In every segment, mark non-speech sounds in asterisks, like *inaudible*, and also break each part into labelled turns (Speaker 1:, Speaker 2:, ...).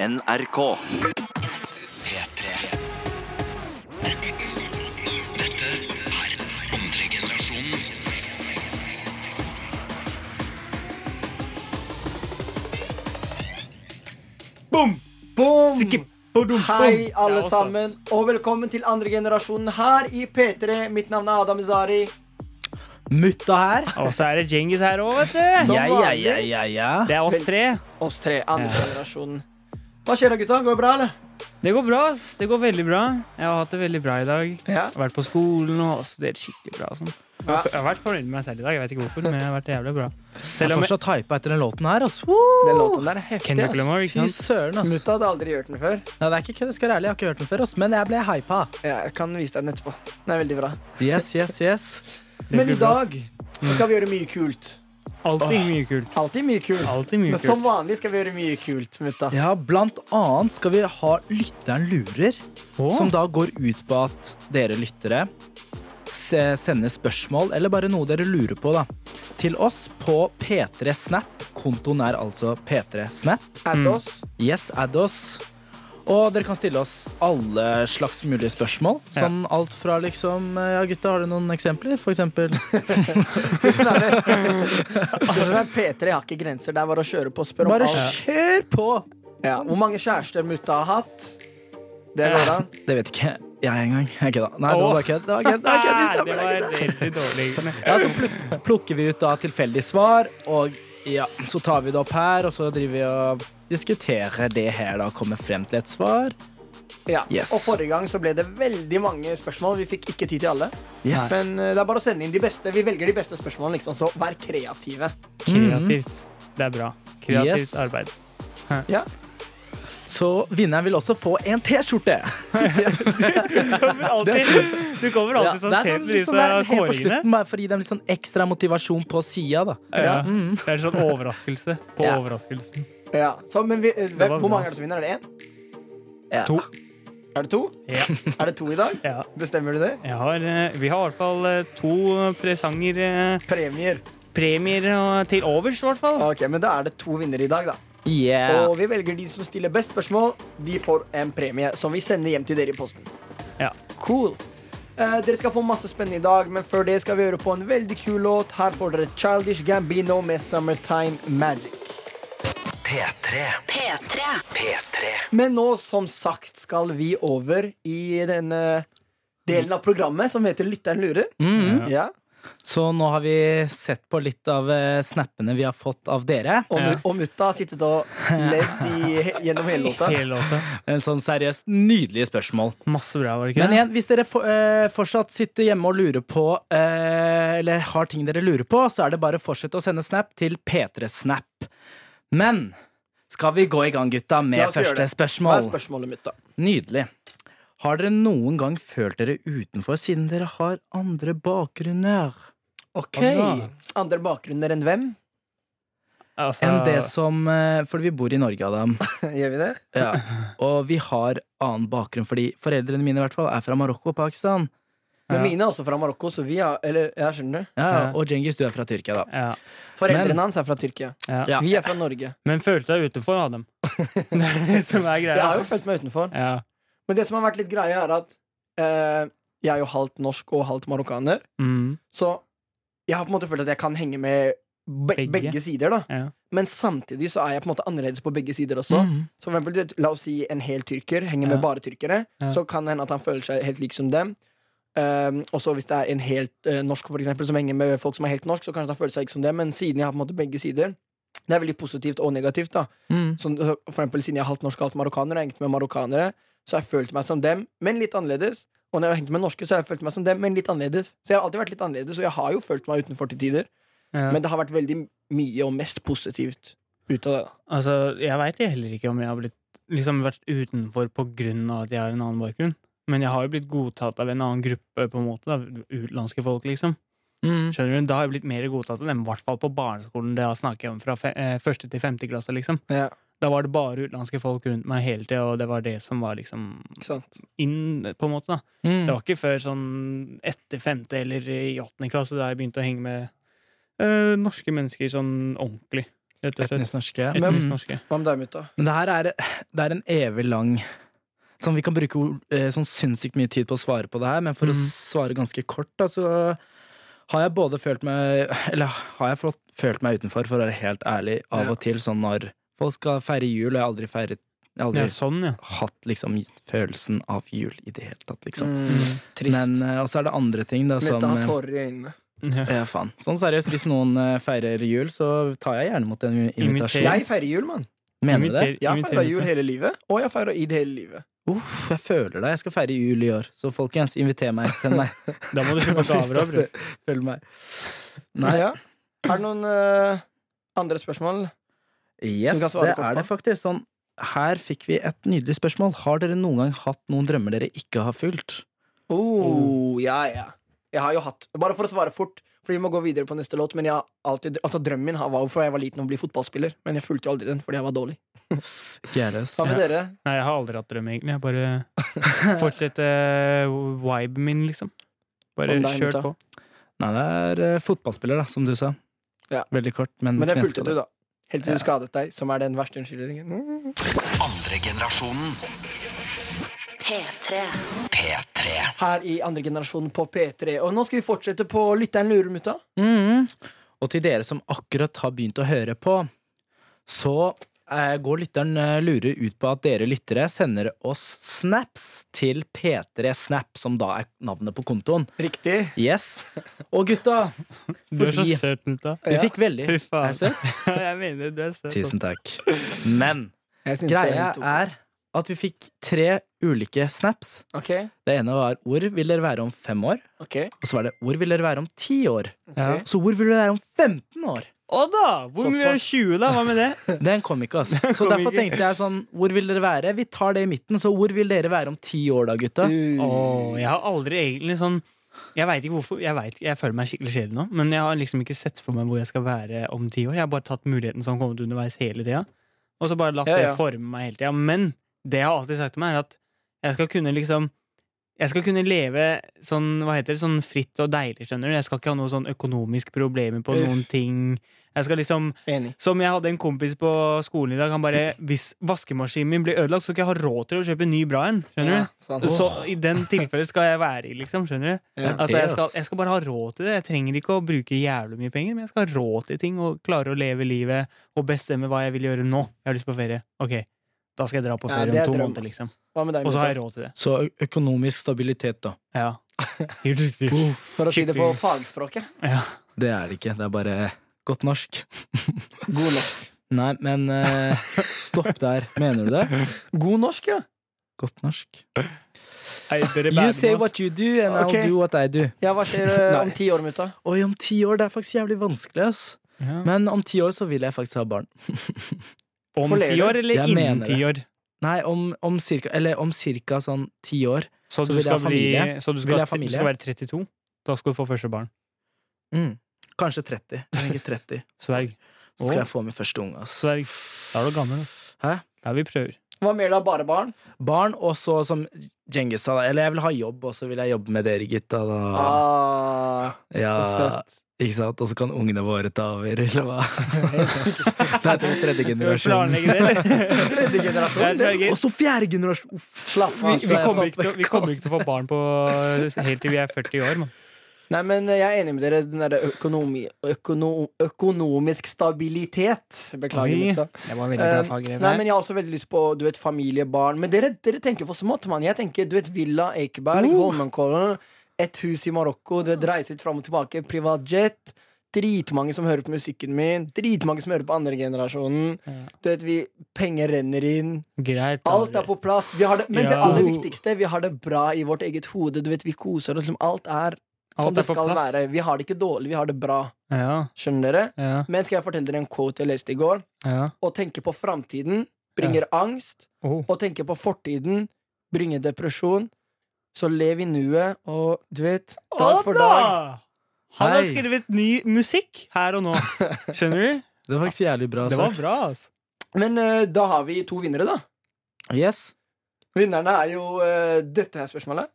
Speaker 1: NRK.
Speaker 2: Boom!
Speaker 3: Skibbo-dum-bom.
Speaker 2: Hei,
Speaker 3: Det
Speaker 2: alle
Speaker 3: er oss,
Speaker 2: sammen, og velkommen til andre generasjonen her i P3. Mitt navn er Adam Izari.
Speaker 4: Mutta her.
Speaker 3: Og så er det Djengis her òg,
Speaker 4: *laughs*
Speaker 3: vet du.
Speaker 2: Som
Speaker 4: Ja, ja, ja,
Speaker 2: vanlig.
Speaker 4: ja, ja.
Speaker 3: Det er oss tre.
Speaker 2: Oss tre. Andre generasjonen. Hva skjer da, gutta? Går det bra, eller?
Speaker 3: Det går bra, ass. Det går veldig bra. Jeg har hatt det veldig bra i dag. Jeg
Speaker 2: Ja.
Speaker 3: har vært på skolen og studert skikkelig bra. og Sånn. Jeg har- Jeg har vært fornøyd med meg selv i dag. Jeg vet ikke hvorfor, men jeg har vært jævlig bra.
Speaker 4: Jeg
Speaker 3: Selv
Speaker 4: er
Speaker 3: om jeg,
Speaker 4: fortsatt hypa etter den låten her. Altså.
Speaker 2: Den
Speaker 4: Woo!
Speaker 2: låten der er heftig.
Speaker 3: Kendrick
Speaker 2: ass.
Speaker 3: Lamar, ikke
Speaker 4: Fy
Speaker 3: sant?
Speaker 4: søren, ass.
Speaker 2: Mutta hadde aldri hørt den før.
Speaker 4: Nei, det er ikke kødd, jeg skal være ærlig, jeg har ikke hørt den før, ass. men jeg ble hypa.
Speaker 2: Jeg kan vise deg den etterpå. Den er veldig bra.
Speaker 4: Yes, yes, yes.
Speaker 2: Men
Speaker 3: blir
Speaker 2: i
Speaker 3: bra.
Speaker 2: dag
Speaker 3: Mm.
Speaker 2: så skal vi gjøre mye kult.
Speaker 3: Alltid mye kult.
Speaker 2: Alltid mye kult.
Speaker 3: Alltid mye
Speaker 2: Men som
Speaker 3: kult.
Speaker 2: vanlig skal vi gjøre mye kult, mutta.
Speaker 4: Ja, blant annet skal vi ha Lytteren lurer, som
Speaker 3: Å,
Speaker 4: da går ut på at dere lyttere se- sender spørsmål, eller bare noe dere lurer på, da, til oss på P3 Snap. Kontoen er altså P3 Snap.
Speaker 2: Add
Speaker 3: Mm.
Speaker 2: oss.
Speaker 4: Yes, add oss. Og dere kan stille oss alle slags mulige spørsmål.
Speaker 3: Ja.
Speaker 4: Sånn alt fra liksom Ja, gutta, har du noen eksempler? For eksempel.
Speaker 2: Altså, P3 har ikke grenser. Det er bare å kjøre på og spørre om
Speaker 4: Bare
Speaker 2: alt.
Speaker 4: kjør på!
Speaker 2: Ja. Hvor mange kjærester mutta har hatt? Det går an.
Speaker 4: Det vet ikke jeg engang. Jeg kødda. Nei, det var bare kødd. Det var kødd. Det var kødd. Vi
Speaker 3: Nei, det
Speaker 4: stemmer. Mhm.
Speaker 3: var veldig
Speaker 4: *laughs*
Speaker 3: dårlig.
Speaker 4: Ja, så pluk- plukker vi ut da tilfeldige svar, og ja, så tar vi det opp her, og så driver vi og diskuterer det her, da, og kommer frem til et svar.
Speaker 2: Ja,
Speaker 4: Yes.
Speaker 2: og Forrige gang så ble det veldig mange spørsmål. Vi fikk ikke tid til alle.
Speaker 4: Yes.
Speaker 2: Men eh, det er bare å sende inn de beste. Vi velger de beste spørsmålene, liksom, så vær kreative.
Speaker 3: Kreativt. Det er bra.
Speaker 4: Yes.
Speaker 3: Kreativt arbeid.
Speaker 2: Ja.
Speaker 4: Så vinneren vil også få en T-skjorte.
Speaker 3: Du kommer
Speaker 4: Ja,
Speaker 3: alltid sånn
Speaker 4: det er
Speaker 3: sent med
Speaker 4: litt sånn
Speaker 3: disse
Speaker 4: der helt på
Speaker 3: kåringene.
Speaker 4: slutten, bare for å gi dem litt sånn ekstra motivasjon på sida, da.
Speaker 3: Ja. Det er en sånn overraskelse på
Speaker 4: Ja.
Speaker 3: overraskelsen.
Speaker 2: ja. Så, men vi, eh,
Speaker 3: Det var
Speaker 2: hvem, hvor
Speaker 3: bra,
Speaker 2: mange er det som vinner? Er det én?
Speaker 4: Ja.
Speaker 3: To.
Speaker 2: Er det to?
Speaker 3: Ja.
Speaker 2: *laughs* Er det to i dag?
Speaker 3: Ja.
Speaker 2: Bestemmer du det?
Speaker 3: Jeg har, eh, vi har i hvert fall eh, to presanger, eh,
Speaker 2: Premier.
Speaker 3: premier og- til overs, i hvert fall.
Speaker 2: Ok, Men da er det to vinnere i dag, da.
Speaker 4: Yeah.
Speaker 2: Og vi velger de som stiller best spørsmål. De får en premie som vi sender hjem til dere i posten.
Speaker 3: Ja.
Speaker 2: Cool. Eh, dere skal få masse spennende i dag, men før det skal vi høre på en veldig kul låt. Her får dere Childish Gambino med 'Summertime Magic'.
Speaker 5: P3.
Speaker 2: Men nå, som sagt, skal vi over i denne delen av programmet som heter Lytteren lurer.
Speaker 4: Mm.
Speaker 2: Ja.
Speaker 4: Så nå har vi sett på litt av eh, snappene vi har fått av dere.
Speaker 2: Og,
Speaker 3: Ja.
Speaker 2: mu- og mutta har sittet og ledd i, gjennom hele låta.
Speaker 3: Hele låta.
Speaker 4: En sånn seriøst nydelige spørsmål.
Speaker 3: Masse bra, var det ikke
Speaker 4: Men
Speaker 3: det?
Speaker 4: igjen, hvis dere for, eh, fortsatt sitter hjemme og lurer på eh, Eller har ting dere lurer på, så er det bare å fortsette å sende snap til P3snap. Men skal vi gå i gang, gutta,
Speaker 2: La
Speaker 4: med
Speaker 2: oss gjøre
Speaker 4: første
Speaker 2: det. Hva er
Speaker 4: spørsmål?
Speaker 2: spørsmålet mitt, da?
Speaker 4: Nydelig. Har dere noen gang følt dere utenfor siden dere har andre bakgrunner
Speaker 2: OK.
Speaker 3: Anna.
Speaker 2: Andre bakgrunner enn hvem? *laughs*
Speaker 3: Altså,
Speaker 4: enn
Speaker 2: Ah.
Speaker 4: det som eh, For vi bor i Norge, Adam.
Speaker 2: *laughs* Gjør vi det?
Speaker 4: Ja. Og vi har annen bakgrunn, fordi foreldrene mine i hvert fall er fra Marokko og Pakistan.
Speaker 2: Men
Speaker 3: Ja.
Speaker 2: mine er også fra Marokko, så vi er Eller, jeg skjønner du.
Speaker 4: Ja,
Speaker 3: Ja.
Speaker 4: og Djengis, du er fra Tyrkia, da.
Speaker 3: ja,
Speaker 2: Foreldrene
Speaker 4: Men-
Speaker 2: hans er fra Tyrkia.
Speaker 3: ja.
Speaker 4: Ja.
Speaker 2: Vi er fra Norge.
Speaker 3: Men følte deg utenfor, Adam. Det er det som er
Speaker 2: Jeg har
Speaker 3: greia.
Speaker 2: jo følt meg utenfor.
Speaker 3: Ja.
Speaker 2: Men det som har vært litt greia, er at eh, jeg er jo halvt norsk og halvt marokkaner.
Speaker 3: Mm.
Speaker 2: Så jeg har på en måte følt at jeg kan henge med be
Speaker 3: Begge.
Speaker 2: begge. sider, da.
Speaker 3: Ja. Mm.
Speaker 2: Men samtidig så er jeg på en måte annerledes på begge sider også.
Speaker 4: Mhm.
Speaker 2: Så for eksempel, du vet, La oss si en hel tyrker henger
Speaker 3: Ja.
Speaker 2: med bare tyrkere.
Speaker 3: Ja.
Speaker 2: Så kan det hende at han føler seg helt lik som dem. Um, også hvis det er en helt eh, norsk for eksempel, som henger med folk som er helt norsk, så kanskje han føler seg ikke som dem. Men siden jeg har på en måte begge sider, det er veldig positivt og negativt. da
Speaker 4: Mhm.
Speaker 2: Sånn, så for eksempel Siden jeg har halvt norsk og halvt marokkaner, har jeg hengt med marokkanere, så har jeg følt meg som dem, men litt annerledes. Og når jeg har hengt med norske, så har jeg følt meg som dem, men litt annerledes. Så jeg har alltid vært litt annerledes, og jeg har jo følt meg utenfor til tider.
Speaker 3: Ja.
Speaker 2: Men det har vært veldig mye og mest positivt ut av det. da
Speaker 3: Altså, jeg veit heller ikke om jeg har blitt, liksom, vært utenfor på grunn av at jeg har en annen bakgrunn. Men jeg har jo blitt godtatt av en annen gruppe, på en måte. Da. Utenlandske folk, liksom.
Speaker 4: Mhm.
Speaker 2: Mm.
Speaker 3: Skjønner du? Da har jeg blitt mer godtatt av dem, i hvert fall på barneskolen. Det jeg snakker om fra fe eh, første til femte klasse, liksom.
Speaker 2: Ja,
Speaker 3: Da var det bare utenlandske folk rundt meg hele tida, og det var det som var liksom
Speaker 2: ikke sant?
Speaker 3: inn, på en måte. da.
Speaker 4: Mhm.
Speaker 2: Mm.
Speaker 3: Det var ikke før sånn etter femte eller i åttende klasse da jeg begynte å henge med eh, norske mennesker sånn ordentlig. Rett og slett.
Speaker 4: Etnisk norske. Men,
Speaker 3: Etnisk norske.
Speaker 2: Hva med deg, mutta?
Speaker 4: men det her er, det er en evig lang Sånn, Vi kan bruke ord- eh, sånn sinnssykt mye tid på å svare på det her, men for å
Speaker 3: Mhm.
Speaker 4: svare ganske kort, da, så har jeg både følt meg Eller har jeg fått- følt meg utenfor, for å være helt ærlig, av
Speaker 2: Ja.
Speaker 4: og til, sånn når folk skal feire jul, og jeg har aldri feiret Jeg har aldri
Speaker 3: Ja, sånn,
Speaker 4: *laughs*
Speaker 3: ja.
Speaker 4: hatt liksom følelsen av jul i det hele tatt, liksom.
Speaker 2: Mm, trist.
Speaker 4: Men, eh, og så er det andre ting, da, som
Speaker 2: Mutta har
Speaker 4: eh,
Speaker 2: tårer i øynene.
Speaker 3: ja.
Speaker 4: Ja, faen. Sånn seriøst, hvis noen eh, feirer jul, så tar jeg gjerne mot en
Speaker 3: Inviter.
Speaker 4: invitasjon.
Speaker 2: Jeg feirer jul, mann.
Speaker 4: Mener du det?
Speaker 3: Inviter-
Speaker 2: Jeg har
Speaker 3: inviter
Speaker 2: feira
Speaker 3: ut,
Speaker 2: jul
Speaker 3: ja.
Speaker 2: hele livet, og jeg feira id hele livet.
Speaker 4: Uff, jeg føler det. Jeg skal feire jul i år. Så folkens, inviter meg. Send meg.
Speaker 3: Da må du kjøpe gaver
Speaker 4: *laughs*
Speaker 3: av, bror.
Speaker 4: Følg meg. Nei,
Speaker 2: Ja. Er det noen eh, andre spørsmål? Som
Speaker 4: yes,
Speaker 2: kan svare
Speaker 4: det
Speaker 2: kort på.
Speaker 4: er det faktisk. Sånn, her fikk vi et nydelig spørsmål. Har dere noen gang hatt noen drømmer dere ikke har fylt?
Speaker 2: Oh, ja, ja. Jeg har jo hatt Bare for å svare fort, for vi må gå videre på neste låt. Men jeg har alltid Altså Drømmen min har- var jo fra jeg var liten å bli fotballspiller, men jeg fulgte jo aldri den fordi jeg var dårlig.
Speaker 4: Ikke jeg, ass.
Speaker 2: Hva med dere?
Speaker 3: Nei, jeg har aldri hatt drøm, egentlig. Jeg bare
Speaker 4: *laughs*
Speaker 3: fortsetter viben min, liksom. Bare
Speaker 2: Om deg,
Speaker 3: kjørt
Speaker 2: gutta.
Speaker 3: på.
Speaker 4: Nei, det er eh, fotballspiller, da, som du sa.
Speaker 2: Ja.
Speaker 4: Veldig kort, men,
Speaker 2: Men det fulgte
Speaker 4: kneskade.
Speaker 2: du, da. Helt til du skadet deg, som er den verste unnskyldningen. Mm.
Speaker 1: Andre generasjonen.
Speaker 5: P3.
Speaker 1: P3.
Speaker 2: Her i andre generasjon på P3. Og nå skal vi fortsette på Lytteren lurer, mutta.
Speaker 4: Mhm. Og til dere som akkurat har begynt å høre på, så eh, går lytteren eh, lurer ut på at dere lyttere sender oss snaps til P3 Snap, som da er navnet på kontoen.
Speaker 2: Riktig.
Speaker 4: Yes. Og gutta,
Speaker 3: Du er så
Speaker 4: Fordi-
Speaker 3: søt, Nutta.
Speaker 4: vi
Speaker 2: Ja.
Speaker 4: fikk veldig
Speaker 3: Fy
Speaker 4: Er
Speaker 3: faen.
Speaker 4: jeg
Speaker 3: *laughs*
Speaker 4: søt?
Speaker 3: Jeg mener, du er søt. ass.
Speaker 4: Tusen takk. Men
Speaker 2: Jeg syns det er
Speaker 4: greia
Speaker 2: helt ok.
Speaker 4: er at vi fikk tre ulike snaps.
Speaker 2: Ok,
Speaker 4: Det ene var 'Hvor vil dere være om fem år?'
Speaker 2: ok,
Speaker 4: Og så var det 'Hvor vil dere være om ti år?'
Speaker 3: Ja.
Speaker 2: ok.
Speaker 4: Så 'Hvor vil dere være om 15 år?'
Speaker 3: Å da! Hvor mye er
Speaker 2: Såpass.
Speaker 3: 20, da? Hva med det?
Speaker 4: Den kom ikke, ass. Så
Speaker 3: kom
Speaker 4: derfor
Speaker 3: ikke.
Speaker 4: tenkte jeg sånn Hvor vil dere være? Vi tar det i midten, så hvor vil dere være om ti år da, gutta?
Speaker 2: Uh,
Speaker 3: Åh, jeg har aldri egentlig sånn Jeg vet ikke hvorfor Jeg, vet, jeg føler meg skikkelig kjedelig nå, men jeg har liksom ikke sett for meg hvor jeg skal være om ti år. Jeg har bare tatt muligheten som har kommet underveis hele tida, og så bare latt
Speaker 2: Ja, ja.
Speaker 3: det forme meg hele tida. Men det jeg har alltid sagt til meg, er at jeg skal kunne liksom jeg skal kunne leve sånn hva heter det, sånn fritt og deilig. skjønner du Jeg skal ikke ha noe sånn økonomisk problemer på
Speaker 2: Uff.
Speaker 3: noen ting. Jeg skal liksom
Speaker 2: Enig.
Speaker 3: Som jeg hadde en kompis på skolen i dag. Han bare Hvis vaskemaskinen min blir ødelagt, så skal jeg ha råd til å kjøpe en ny bra en. Skjønner du?
Speaker 2: Ja, sant.
Speaker 3: Så i den tilfellet skal jeg være i, liksom. Skjønner du?
Speaker 2: Ja.
Speaker 3: Altså, jeg, skal,
Speaker 4: Yes.
Speaker 3: jeg skal bare ha råd til det. Jeg trenger ikke å bruke jævlig mye penger, men jeg skal ha råd til ting og klare å leve livet og bestemme hva jeg vil gjøre nå. Jeg har lyst på ferie. Ok, da skal jeg dra på
Speaker 2: Ja,
Speaker 3: ferie
Speaker 2: det er
Speaker 3: om to
Speaker 2: drøm,
Speaker 3: måneder, liksom.
Speaker 2: Hva med deg,
Speaker 3: Og så har jeg
Speaker 2: mutta?
Speaker 3: råd til det.
Speaker 4: Så ø- økonomisk stabilitet, da.
Speaker 3: Ja.
Speaker 2: *laughs*
Speaker 3: Helt riktig.
Speaker 2: For å si det på fagspråket.
Speaker 3: Ja.
Speaker 4: Det er det ikke. Det er bare godt norsk.
Speaker 2: God norsk.
Speaker 4: Nei, men eh, stopp der. Mener du det?
Speaker 2: God norsk, ja.
Speaker 4: Godt norsk.
Speaker 3: Nei, dere
Speaker 4: You
Speaker 3: bærer
Speaker 4: say
Speaker 3: meg, ass.
Speaker 4: what you do, and I'll
Speaker 2: Ok.
Speaker 4: do what I do.
Speaker 2: Ja, hva skjer *laughs* eh, om
Speaker 4: Nei.
Speaker 2: ti år, mutta?
Speaker 4: Oi, om ti år. Det er faktisk jævlig vanskelig, ass.
Speaker 3: Ja.
Speaker 4: Men om ti år så vil jeg faktisk ha barn.
Speaker 3: Om
Speaker 2: Forlever.
Speaker 3: ti år
Speaker 4: Jeg
Speaker 3: eller innen
Speaker 4: mener
Speaker 3: ti år?
Speaker 4: Nei, om, om cirka Eller om cirka sånn ti år.
Speaker 3: Så,
Speaker 4: Så
Speaker 3: du
Speaker 4: vil jeg
Speaker 3: skal
Speaker 4: ha
Speaker 3: bli
Speaker 4: familie.
Speaker 3: Så du
Speaker 4: Vil
Speaker 3: skal,
Speaker 4: jeg ha
Speaker 3: du
Speaker 4: familie.
Speaker 3: skal være 32? Da skal du få første barn.
Speaker 4: Kanskje 30. Jeg trenger 30.
Speaker 3: Sverg.
Speaker 4: Så skal
Speaker 3: Å.
Speaker 4: jeg få min første unge, ass.
Speaker 3: Sverg. Da er du gammel. ass.
Speaker 4: Hæ?
Speaker 3: Da er vi prøver.
Speaker 2: Hva mer da? Bare barn?
Speaker 4: barn, og så som Djengis sa, da, eller jeg vil ha jobb, og så vil jeg jobbe med dere gutta, da.
Speaker 2: Ah,
Speaker 4: ja,
Speaker 2: så
Speaker 4: ikke sant? Og så kan ungene våre ta over, eller
Speaker 2: *laughs*
Speaker 4: hva? Nei, det er tredje
Speaker 3: Skal vi
Speaker 4: generasjon.
Speaker 3: planlegge det,
Speaker 4: *laughs*
Speaker 3: eller?
Speaker 2: Tredje generasjon,
Speaker 3: Jeg sverger.
Speaker 4: Og så fjerde generasjon! Uff.
Speaker 2: Slapp
Speaker 3: Vi,
Speaker 2: av.
Speaker 3: vi,
Speaker 2: Stein.
Speaker 3: kommer ikke til, å- vi kommer ikke til å få barn på eh, helt til vi er 40 år. Man.
Speaker 2: Nei, men jeg er enig med dere. Den derre økonomi, økono, økonomisk stabilitet. Beklager,
Speaker 3: Oi.
Speaker 2: mutta.
Speaker 3: Det var veldig
Speaker 2: Eh, Nei, men jeg har også veldig lyst på du vet, familie, barn. Men dere, dere tenker for smått, mann. Jeg tenker du vet, Villa Ekeberg,
Speaker 3: Uh.
Speaker 2: Holmenkollen, et hus i Marokko. Du vet, Reise litt fram og tilbake. Privatjet. Dritmange som hører på musikken min. Dritmange som hører på andregenerasjonen.
Speaker 3: Ja.
Speaker 2: Du vet, vi Penger renner inn.
Speaker 3: Greit.
Speaker 2: Alt er på plass. Vi har det, men det
Speaker 3: Ja.
Speaker 2: aller viktigste, vi har det bra i vårt eget hode. Du vet, Vi koser oss. liksom. Alt er som
Speaker 3: Alt
Speaker 2: det
Speaker 3: er på
Speaker 2: skal
Speaker 3: plass.
Speaker 2: være. Vi har det ikke dårlig, vi har det bra.
Speaker 3: Ja,
Speaker 2: Skjønner dere?
Speaker 3: ja,
Speaker 2: Men skal jeg fortelle dere en quote jeg leste i går?
Speaker 3: ja.
Speaker 2: Å tenke på framtiden bringer angst.
Speaker 3: Oh.
Speaker 2: Å tenke på fortiden bringer depresjon. Så lev i nuet, og du vet Dag for dag.
Speaker 3: Han har
Speaker 4: Hei.
Speaker 3: skrevet ny musikk her og nå.
Speaker 2: *laughs*
Speaker 3: Skjønner du?
Speaker 4: Det var faktisk jævlig bra
Speaker 3: Det var bra, altså.
Speaker 2: Men eh, da har vi to vinnere, da.
Speaker 4: Yes.
Speaker 2: Vinnerne er jo eh, dette her spørsmålet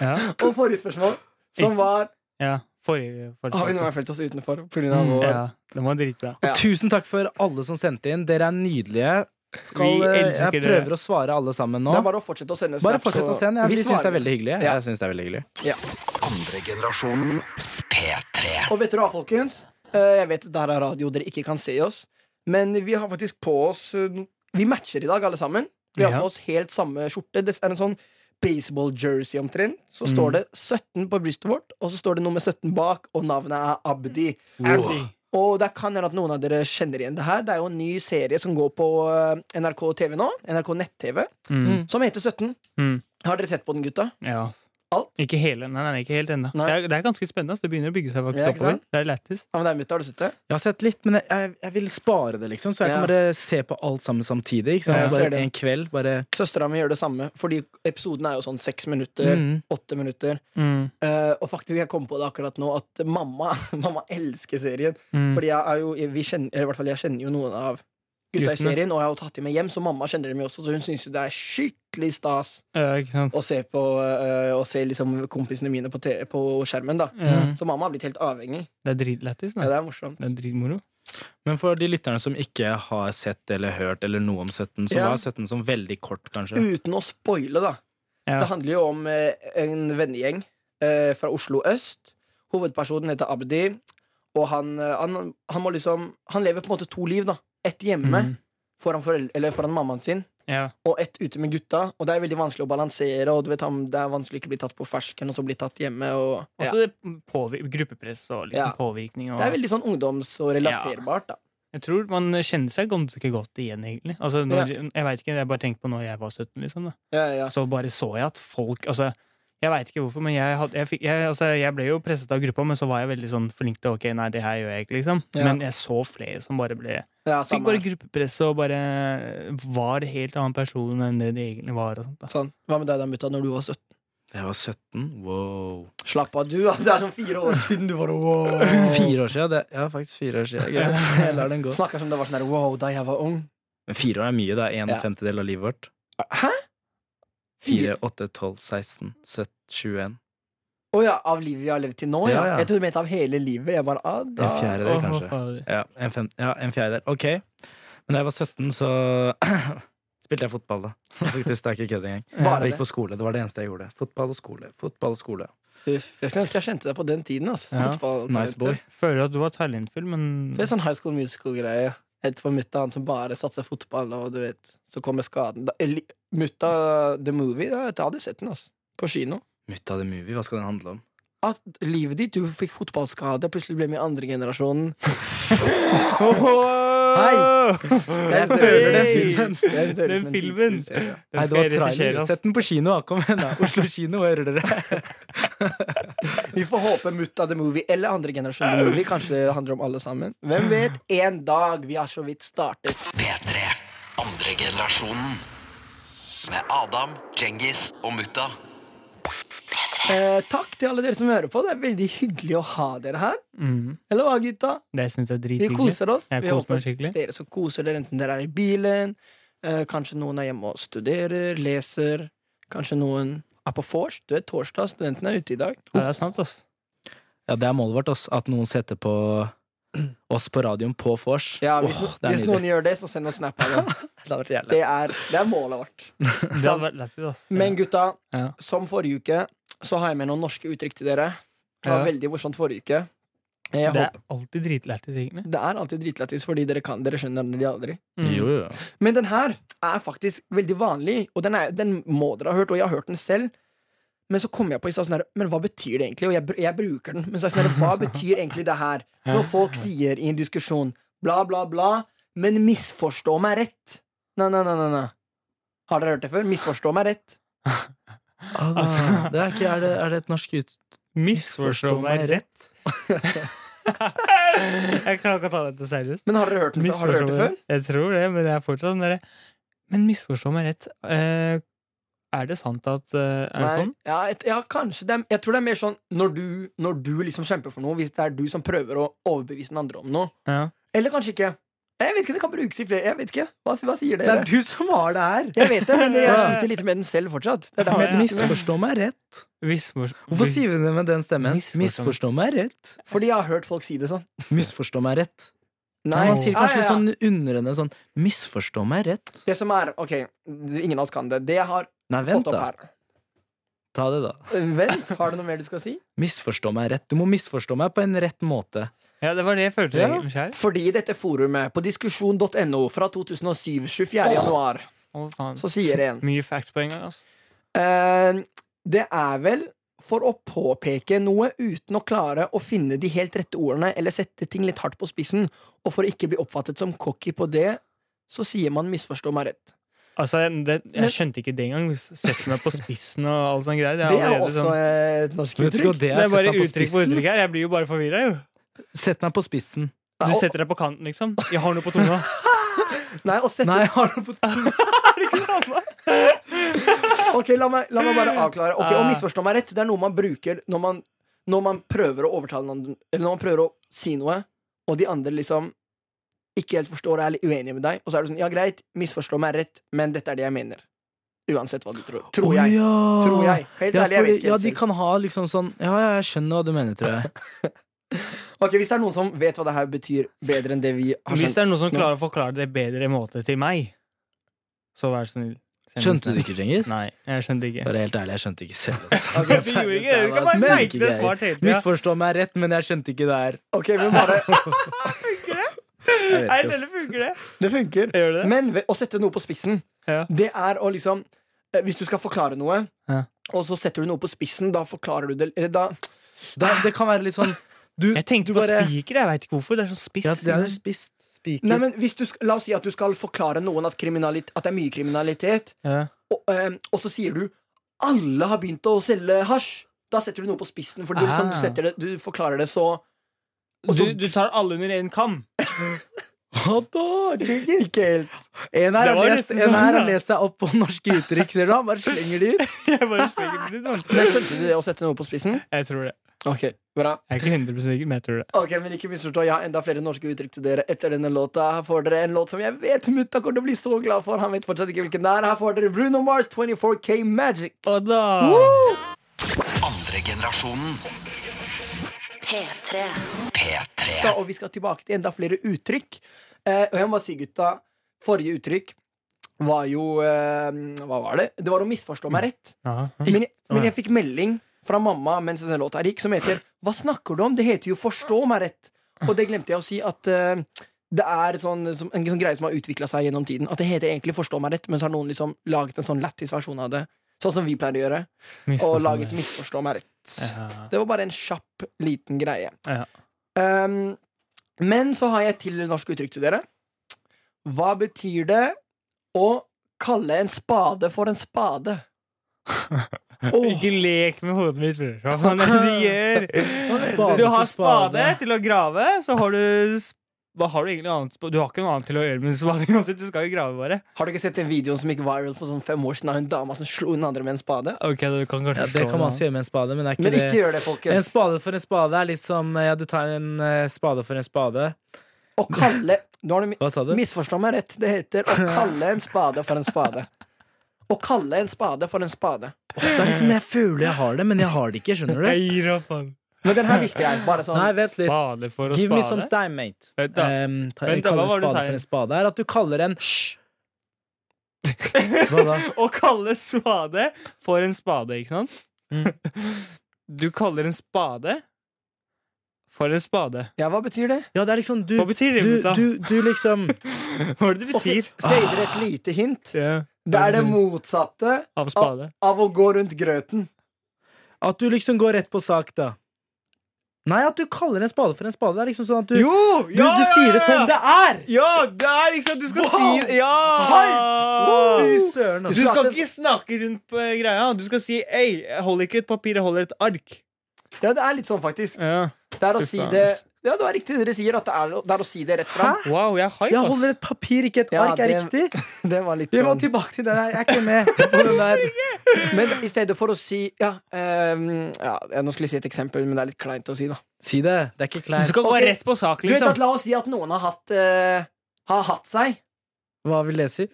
Speaker 3: Ja.
Speaker 2: og forrige spørsmål, som var
Speaker 3: ja. Forrige, forrige
Speaker 2: Har vi noen gang følt oss utenfor? På grunn av vår
Speaker 3: Mm, Ja, den var dritbra.
Speaker 2: Ja.
Speaker 4: Tusen takk for alle som sendte inn. Dere er nydelige. Skal,
Speaker 3: Vi
Speaker 4: eh,
Speaker 3: elsker
Speaker 4: jeg
Speaker 3: dere.
Speaker 4: prøver å svare alle sammen nå.
Speaker 2: Det er bare å fortsette å sende
Speaker 4: Bare
Speaker 2: snaps,
Speaker 4: fortsett
Speaker 2: så-
Speaker 4: å sende. Ja. Vi syns det er
Speaker 2: svarer.
Speaker 4: veldig hyggelig.
Speaker 2: Ja.
Speaker 4: Jeg synes det er veldig hyggelig.
Speaker 2: Ja.
Speaker 1: Andre generasjonen P3.
Speaker 2: Og vet dere hva, folkens? Eh, Jeg vet det her er radio, dere ikke kan se oss. Men vi har faktisk på oss eh, no- Vi matcher i dag, alle sammen. Vi har
Speaker 3: Ja.
Speaker 2: på oss helt samme skjorte. Det er en sånn baseball jersey omtrent. Så
Speaker 4: Mm.
Speaker 2: står det 17 på brystet vårt, og så står det nummer 17 bak, og navnet er Abdi.
Speaker 3: Wow.
Speaker 2: Og det kan hende at noen av dere kjenner igjen det her. Det er jo en ny serie som går på eh, NRK TV nå. NRK nett-TV.
Speaker 3: Mm.
Speaker 2: Som heter 17.
Speaker 3: Mm.
Speaker 2: Har dere sett på den, gutta?
Speaker 3: Ja.
Speaker 2: Alt?
Speaker 3: Ikke hele, nei, nei, nei, ikke helt ennå. Det,
Speaker 2: Nei.
Speaker 3: er- det er ganske spennende. ass. Det begynner å bygge seg faktisk
Speaker 2: Ja, ikke
Speaker 3: oppover.
Speaker 2: sant?
Speaker 3: Det er lættis.
Speaker 2: Ja, men det er mitt, har du sett det?
Speaker 4: Jeg har sett litt, men jeg, jeg, jeg vil spare det, liksom. Så jeg
Speaker 2: Ja.
Speaker 4: kan bare se på alt sammen samtidig. Ikke sant?
Speaker 2: Ja, jeg ser
Speaker 4: bare
Speaker 2: det.
Speaker 4: en kveld. Bare
Speaker 2: Søstera mi gjør det samme, fordi episoden er jo sånn seks minutter.
Speaker 4: Mm.
Speaker 2: Åtte minutter.
Speaker 3: Mm.
Speaker 2: Eh, og faktisk, jeg kom på det akkurat nå, at mamma, *laughs* mamma elsker serien.
Speaker 3: Mm.
Speaker 2: Fordi jeg er jo, vi kjenner, eller i hvert fall jeg kjenner jo noen av gutta i
Speaker 3: Guttene.
Speaker 2: serien, og jeg har jo tatt dem med hjem, så mamma kjenner dem jo også, så hun syns jo det er skikkelig stas
Speaker 3: Ja, ikke sant?
Speaker 2: å se på eh, Å se liksom kompisene mine på, te- på skjermen, da.
Speaker 3: Ja.
Speaker 2: Så mamma har blitt helt avhengig.
Speaker 3: Det er dritlættis.
Speaker 2: Ja,
Speaker 3: da.
Speaker 2: det er morsomt.
Speaker 3: Det er dritmoro.
Speaker 4: Men for de lytterne som ikke har sett eller hørt eller noe om 17, så
Speaker 2: Ja.
Speaker 4: var 17 som veldig kort, kanskje.
Speaker 2: Uten å spoile, da.
Speaker 3: Ja.
Speaker 2: Det handler jo om eh, en vennegjeng eh, fra Oslo øst. Hovedpersonen heter Abdi, og han, eh, han, han må liksom Han lever på en måte to liv, da. Ett hjemme
Speaker 3: Mm.
Speaker 2: foran, forel- eller foran mammaen sin,
Speaker 3: Ja.
Speaker 2: og ett ute med gutta. Og det er veldig vanskelig å balansere, og du vet, han, det er vanskelig å ikke bli tatt på fersken, og så bli tatt hjemme. Og, ja.
Speaker 3: Også det påvir gruppepress og liksom
Speaker 2: Ja.
Speaker 3: påvirkning. Og
Speaker 2: Det er veldig sånn ungdoms- og relaterbart, da.
Speaker 3: Jeg tror man kjenner seg ganske godt igjen, egentlig. Altså, når, Jeg vet ikke, jeg bare tenker på når jeg var 17, liksom. Da.
Speaker 2: Ja, ja.
Speaker 3: Så bare så jeg at folk altså, Jeg veit ikke hvorfor, men jeg, hadde, jeg, fikk, jeg, altså, jeg ble jo presset av gruppa, men så var jeg veldig sånn flink til ok, nei, det her gjør jeg ikke, liksom.
Speaker 2: Ja.
Speaker 3: Men jeg så flere som bare ble
Speaker 2: ja
Speaker 3: Fikk
Speaker 2: samme.
Speaker 3: bare
Speaker 2: her.
Speaker 3: gruppepress og bare var helt annen person enn det de egentlig var. Og sånt, da.
Speaker 2: Sånn. Hva med deg da, mutta, når du var 17?
Speaker 4: Det var 17. Wow.
Speaker 2: Slapp av, du. da. Det er sånn fire
Speaker 3: *laughs*
Speaker 2: år siden du var wow.
Speaker 4: Fire år siden. Det, ja, faktisk fire år siden. Greit.
Speaker 2: *laughs*
Speaker 4: Jeg lar den gå.
Speaker 2: Snakker som det var sånn her wow da jeg var ung.
Speaker 4: Men fire år er mye. Det er en
Speaker 2: Ja.
Speaker 4: femtedel av livet vårt.
Speaker 2: Hæ? Fire
Speaker 4: 4, 8, 12, 16, 17, 21.
Speaker 2: Å ja, av livet vi har levd til nå? Ja,
Speaker 4: Ja, ja.
Speaker 2: Jeg trodde du mente av hele livet. Jeg bare, ah, da.
Speaker 4: En fjerdedel,
Speaker 3: Åh,
Speaker 4: kanskje.
Speaker 3: fader.
Speaker 4: Ja, en, fem, ja, en fjerdedel. Ok. Men da jeg var 17, så *clears throat* spilte jeg fotball, da. Faktisk, det er ikke kødd engang.
Speaker 2: Bare
Speaker 4: Jeg
Speaker 2: det.
Speaker 4: gikk på skole, det var det eneste jeg gjorde. Fotball og skole. fotball og skole
Speaker 2: Uff, jeg skulle ønske jeg kjente deg på den tiden. Altså.
Speaker 3: Ja.
Speaker 2: Fotball-
Speaker 4: Nice boy.
Speaker 3: Føler at du var talentfull, men
Speaker 2: Det er sånn high school musical-greie. Helt på mutta, han som bare satser fotball, og du vet, så kommer skaden. Da, eller, mutta The Movie, da, jeg hadde sett den, altså. På kino.
Speaker 4: Mutta the movie, hva skal den handle om?
Speaker 2: At livet ditt, du fikk fotballskade, plutselig ble med i andregenerasjonen.
Speaker 3: *laughs*
Speaker 4: Jeg
Speaker 3: føler den filmen.
Speaker 2: Den
Speaker 3: Den filmen. Den
Speaker 4: Nei, det
Speaker 3: skal
Speaker 4: var
Speaker 3: jeg regissere,
Speaker 4: trailer.
Speaker 3: ass.
Speaker 4: Sett den på kino, da. Kom igjen, da. Oslo kino, hører dere?
Speaker 2: Vi får håpe Mutta the Movie eller andre generasjon The Movie Kanskje det handler om alle sammen. Hvem vet? En dag! Vi har så vidt startet.
Speaker 1: P3. Andre generasjonen. Med Adam, Djengis og Mutta.
Speaker 2: Eh, takk til alle dere som hører på. Det er veldig hyggelig å ha dere her.
Speaker 3: Mm.
Speaker 2: Eller hva, gutta?
Speaker 3: Det syns jeg er
Speaker 2: Vi
Speaker 3: drithyggelig.
Speaker 2: koser oss.
Speaker 3: Jeg
Speaker 2: Vi
Speaker 3: koser meg
Speaker 2: håper
Speaker 3: skikkelig.
Speaker 2: Dere som koser dere, enten dere er i bilen, eh, kanskje noen er hjemme og studerer, leser, kanskje noen er på vors. Du er torsdag, studentene er ute i dag.
Speaker 3: Ja, det er sant, ass.
Speaker 4: Ja, det er målet vårt, ass. At noen setter på oss på radioen på vors.
Speaker 2: Ja, hvis,
Speaker 4: Åh, det er
Speaker 2: hvis noen
Speaker 4: nydelig.
Speaker 2: gjør det, så send oss snap av det.
Speaker 4: Det hadde vært jævlig.
Speaker 2: Det er, det er målet vårt.
Speaker 3: Det hadde vært lættis, ass.
Speaker 2: Men gutta,
Speaker 3: Ja.
Speaker 2: som forrige uke, så har jeg med noen norske uttrykk til dere. Det var
Speaker 3: Ja.
Speaker 2: veldig morsomt forrige uke. Jeg
Speaker 3: Det
Speaker 2: håper,
Speaker 3: er alltid dritlættis, egentlig.
Speaker 2: det er alltid dritlættis, fordi dere, kan, dere skjønner det aldri.
Speaker 3: Mm.
Speaker 4: Jo, jo.
Speaker 2: Men den her er faktisk veldig vanlig, og den, er, den må dere ha hørt, og jeg har hørt den selv. Men så kom jeg på i stad sånn her Men hva betyr det egentlig? Og jeg, br- jeg bruker den. Men så er jeg sånn her, hva betyr egentlig det her? Når folk sier i en diskusjon bla, bla, bla, men misforstå meg rett. Nei, nei, nei, nei, nei. Har dere hørt det før? Misforstå meg rett.
Speaker 4: Ah, da. det er, ikke, er, det, er det et norsk ut...
Speaker 3: Misforstå meg rett. jeg klarer ikke å ta dette seriøst.
Speaker 2: Men har dere hørt den før? Har dere hørt det før?
Speaker 3: Misforstå meg- Jeg tror det, men jeg er fortsatt den derre Men misforstå meg rett. eh, er det sant at eh, Er det
Speaker 2: Nei,
Speaker 3: sånn?
Speaker 2: Ja, et, ja kanskje. Det er, jeg tror det er mer sånn når du, når du liksom kjemper for noe, hvis det er du som prøver å overbevise den andre om noe.
Speaker 3: Ja.
Speaker 2: Eller kanskje ikke. Jeg vet ikke, det kan brukes i flere Jeg vet ikke, Hva, hva sier
Speaker 4: Det
Speaker 2: dere?
Speaker 4: er du som har det her!
Speaker 2: Jeg vet det, men
Speaker 4: *laughs*
Speaker 2: jeg sliter litt med den selv fortsatt. Det er derfor jeg tok den med.
Speaker 4: Misforstå meg rett.
Speaker 3: Vismors-
Speaker 4: Hvorfor sier vi det med den stemmen?
Speaker 3: Misforstå-
Speaker 4: Misforstå meg rett.
Speaker 2: Fordi jeg har hørt folk si det sånn.
Speaker 4: Misforstå meg rett. Nei,
Speaker 2: Nei,
Speaker 4: Man sier
Speaker 2: ja,
Speaker 4: kanskje
Speaker 2: ja, ja.
Speaker 4: litt sånn underende sånn Misforstå meg rett.
Speaker 2: Det som er Ok, ingen av oss kan det. Det jeg har
Speaker 4: Nei,
Speaker 2: fått
Speaker 4: vent,
Speaker 2: opp
Speaker 4: da.
Speaker 2: her
Speaker 4: Ta det, da.
Speaker 2: Vent, har du noe mer du skal si?
Speaker 4: Misforstå meg rett. Du må misforstå meg på en rett måte.
Speaker 3: Ja, det var det jeg følte
Speaker 4: *laughs* Ja.
Speaker 3: egentlig sjøl.
Speaker 2: Fordi i dette forumet, på diskusjon.no fra 2007, 24. januar,
Speaker 3: Å, faen.
Speaker 2: så sier en
Speaker 3: Mye facts på en gang, altså.
Speaker 2: eh, Det er vel for å påpeke noe uten å klare å finne de helt rette ordene eller sette ting litt hardt på spissen, og for å ikke bli oppfattet som cocky på det, så sier man 'misforstå meg rett'.
Speaker 3: altså jeg- det,
Speaker 2: Men-
Speaker 3: jeg skjønte ikke det engang. Setter meg på spissen og all sånn greier. Det er,
Speaker 2: Det er
Speaker 3: allerede
Speaker 2: også
Speaker 3: sånn,
Speaker 2: eh, et norsk
Speaker 4: liksom- Vet du
Speaker 2: uttrykk.
Speaker 4: ikke hva det
Speaker 3: det
Speaker 4: er?
Speaker 3: er bare
Speaker 4: Sett meg på
Speaker 3: uttrykk på
Speaker 4: spissen.
Speaker 3: uttrykk her. Jeg blir jo bare forvirra, jo.
Speaker 4: Sett meg på spissen.
Speaker 3: Du
Speaker 2: Ja, og-
Speaker 3: setter deg på kanten, liksom. Jeg har noe på tunga.
Speaker 2: Nei, å sette
Speaker 4: Nei, har du på
Speaker 2: Ok, la meg, la meg bare avklare. Ok,
Speaker 4: Eh.
Speaker 2: Å misforstå meg rett, det er noe man bruker når man, når man prøver å overtale noen Eller når man prøver å si noe, og de andre liksom ikke helt forstår og er litt uenige med deg, og så er du sånn Ja, greit, misforstå meg rett, men dette er det jeg mener. Uansett hva du tror. Tror
Speaker 4: Å,
Speaker 2: jeg.
Speaker 4: ja.
Speaker 2: Tror jeg. Helt
Speaker 4: Ja,
Speaker 2: ærlig, jeg
Speaker 4: fordi-
Speaker 2: vet ikke
Speaker 4: ja,
Speaker 2: helt
Speaker 4: de
Speaker 2: selv.
Speaker 4: kan ha liksom sånn Ja, ja, jeg skjønner hva du mener, tror
Speaker 3: *laughs*
Speaker 4: jeg.
Speaker 2: Ok, Hvis det er noen som vet hva det her betyr bedre enn det vi har
Speaker 3: Hvis
Speaker 2: skjønt
Speaker 3: det er noen som klarer å forklare det bedre måte til meg, så vær så snill. send
Speaker 4: Skjønte
Speaker 3: en
Speaker 4: du
Speaker 3: snap.
Speaker 4: ikke, Cengiz?
Speaker 3: Nei, jeg skjønte *laughs* ikke.
Speaker 4: Bare helt ærlig, jeg skjønte ikke selv.
Speaker 3: *laughs*
Speaker 4: ass.
Speaker 2: Ok,
Speaker 3: Du gjorde ikke det. Du kan bare
Speaker 4: Men-
Speaker 3: seike det svart hele tida.
Speaker 4: Misforstå meg rett, men jeg skjønte ikke det her.
Speaker 2: Ok, men bare
Speaker 4: *laughs* Jeg vet
Speaker 3: Nei,
Speaker 4: ikke, ass.
Speaker 3: denne funker det.
Speaker 2: Det funker.
Speaker 3: Gjør det det?
Speaker 2: Men ved, å sette noe på spissen,
Speaker 3: Ja.
Speaker 2: det er å liksom eh, Hvis du skal forklare noe,
Speaker 3: Ja.
Speaker 2: og så setter du noe på spissen, da forklarer du det eller da,
Speaker 4: Da, det kan være litt sånn Du,
Speaker 3: Ah. Jeg tenkte
Speaker 4: du
Speaker 3: på
Speaker 4: bare
Speaker 3: spiker, jeg veit ikke hvorfor. Det er sånn spiss.
Speaker 4: Ja, det er jo spist spiker.
Speaker 2: Nei, men hvis du, sk- La oss si at du skal forklare noen at, kriminalit- at det er mye kriminalitet,
Speaker 3: Ja.
Speaker 2: og, eh, og så sier du 'alle har begynt å selge hasj'. Da setter du noe på spissen, for du, liksom, du,
Speaker 3: Ah.
Speaker 2: setter det, du forklarer det så Og
Speaker 3: Du,
Speaker 2: så-
Speaker 3: du tar alle under én kam. *laughs*
Speaker 4: Hva da?
Speaker 2: Ikke helt.
Speaker 4: En her
Speaker 3: Det
Speaker 4: har
Speaker 3: var
Speaker 4: lest,
Speaker 3: nesten
Speaker 4: en
Speaker 3: sånn,
Speaker 4: her har
Speaker 3: da.
Speaker 4: lest seg opp på norske uttrykk, ser du. Han bare slenger de ut.
Speaker 3: Jeg bare spiker det litt, man.
Speaker 2: Men skjønte du det å sette noe på spissen?
Speaker 3: Jeg tror det.
Speaker 2: Ok, bra.
Speaker 3: Jeg er ikke 100 sikker, men jeg tror det.
Speaker 2: Ok, men ikke misforstå, Jeg har enda flere norske uttrykk til dere etter denne låta. Her får dere en låt som jeg vet mutta kommer til å bli så glad for. Han vet fortsatt ikke hvilken det er. Her får dere Bruno Mars 24K Magic.
Speaker 3: Og da
Speaker 1: Andre generasjonen.
Speaker 5: P3.
Speaker 1: P3.
Speaker 2: gutta, og vi skal tilbake til enda flere uttrykk. Eh, og jeg må bare si, gutta, forrige uttrykk var jo eh, Hva var det? Det var å misforstå meg rett. Men jeg, men jeg fikk melding fra mamma mens denne låta her gikk, som heter 'Hva snakker du om?' Det heter jo 'Forstå meg rett'. Og det glemte jeg å si at eh, det er sånn, som, en sånn greie som har utvikla seg gjennom tiden. At det heter egentlig 'Forstå meg rett', men så har noen liksom laget en sånn lættis versjon av det. Sånn som vi pleier å gjøre. Og laget 'Misforstå meg rett'.
Speaker 3: Ja.
Speaker 2: Det var bare en kjapp, liten greie.
Speaker 3: Ja.
Speaker 2: Um, men så har jeg til norsk uttrykk til dere. Hva betyr det å kalle en spade for en
Speaker 4: *laughs*
Speaker 2: spade?
Speaker 3: Ikke lek med hodet mitt, bror. Hva faen er det
Speaker 4: *laughs*
Speaker 3: du gjør?
Speaker 4: Spade
Speaker 3: du
Speaker 4: for
Speaker 3: har spade
Speaker 4: spade.
Speaker 3: til å grave, så har du s- Hva har du egentlig annet sp- Du har ikke noe annet til å gjøre med spade uansett. Du skal jo grave, bare.
Speaker 2: Har du ikke sett den videoen som gikk viral for sånn fem år siden av en dame som slo den andre med en spade?
Speaker 3: Ok, du kan kanskje
Speaker 4: Ja, det kan man også gjøre med en spade, men det er ikke
Speaker 2: Men
Speaker 4: det.
Speaker 2: ikke gjør det,
Speaker 4: En
Speaker 2: folkens.
Speaker 4: spade for en spade er litt som Ja, du tar en eh, spade for en spade.
Speaker 2: Å kalle Nå har du mi-
Speaker 4: Hva sa du?
Speaker 2: misforstå meg rett. Det heter å kalle en spade for en spade. Å kalle en spade for en spade.
Speaker 4: Det er liksom jeg føler jeg har det, men jeg har det ikke. Skjønner du?
Speaker 3: Jeg gir opp, faen.
Speaker 2: Men den her visste jeg. Bare sånn
Speaker 4: Nei, vent litt.
Speaker 3: Spade for å
Speaker 4: Give me some
Speaker 3: spade?
Speaker 4: time, mate.
Speaker 3: Vent da.
Speaker 4: Ehm, ta,
Speaker 3: Vent da,
Speaker 4: kalle
Speaker 3: hva var det du
Speaker 4: spade
Speaker 3: sa?
Speaker 4: for en spade er at du kaller en Hva da?
Speaker 3: Å kalle spade for en spade, ikke sant?
Speaker 4: Mm.
Speaker 3: *laughs* Du kaller en spade for en spade.
Speaker 2: Ja, hva betyr det?
Speaker 4: Ja, det er liksom du
Speaker 3: Hva betyr det,
Speaker 4: du,
Speaker 3: mutta?
Speaker 4: du, du liksom
Speaker 3: *laughs* Hva er det det betyr?
Speaker 2: Skal jeg gi dere et lite hint?
Speaker 3: Ja,
Speaker 2: Det er det motsatte
Speaker 3: Av spade.
Speaker 2: av å gå rundt grøten.
Speaker 4: At du liksom går rett på sak, da. Nei, at du kaller en spade for en spade. Det er liksom sånn at du
Speaker 3: Jo!
Speaker 4: du, du sier det som det er!
Speaker 3: Ja, det er liksom Du skal
Speaker 4: Wow!
Speaker 3: si Ja!
Speaker 4: Hype! Fy søren,
Speaker 3: Du
Speaker 4: altså.
Speaker 3: skal ikke snakke rundt på eh, greia. Du skal si 'ei, jeg holder ikke et papir, jeg holder et ark'.
Speaker 2: Ja, det er litt sånn, faktisk.
Speaker 3: Ja.
Speaker 2: Det er å
Speaker 3: Fy
Speaker 2: si
Speaker 3: faen,
Speaker 2: det
Speaker 3: ass.
Speaker 2: Ja, det er riktig det dere sier, at det er, det er å si det rett fram.
Speaker 3: Wow, jeg er hype,
Speaker 4: Jeg
Speaker 3: ass.
Speaker 4: holder et papir, ikke et
Speaker 2: Ja,
Speaker 4: ark, er
Speaker 2: det-
Speaker 4: riktig.
Speaker 2: Det var litt
Speaker 4: Vi må
Speaker 2: sånn.
Speaker 4: tilbake til den her. Jeg er ikke med på den der.
Speaker 2: Men i stedet for å si ja, ehm, ja, ja, Nå skulle jeg si et eksempel, men det er litt kleint å si, da.
Speaker 4: *laughs* Si det. Det er ikke
Speaker 3: Du
Speaker 4: kleint.
Speaker 3: skal gå
Speaker 2: Ok.
Speaker 3: rett på sak,
Speaker 2: Du vet
Speaker 3: liksom.
Speaker 2: at La oss si at noen har hatt eh, har hatt seg.
Speaker 4: Hva vi leser?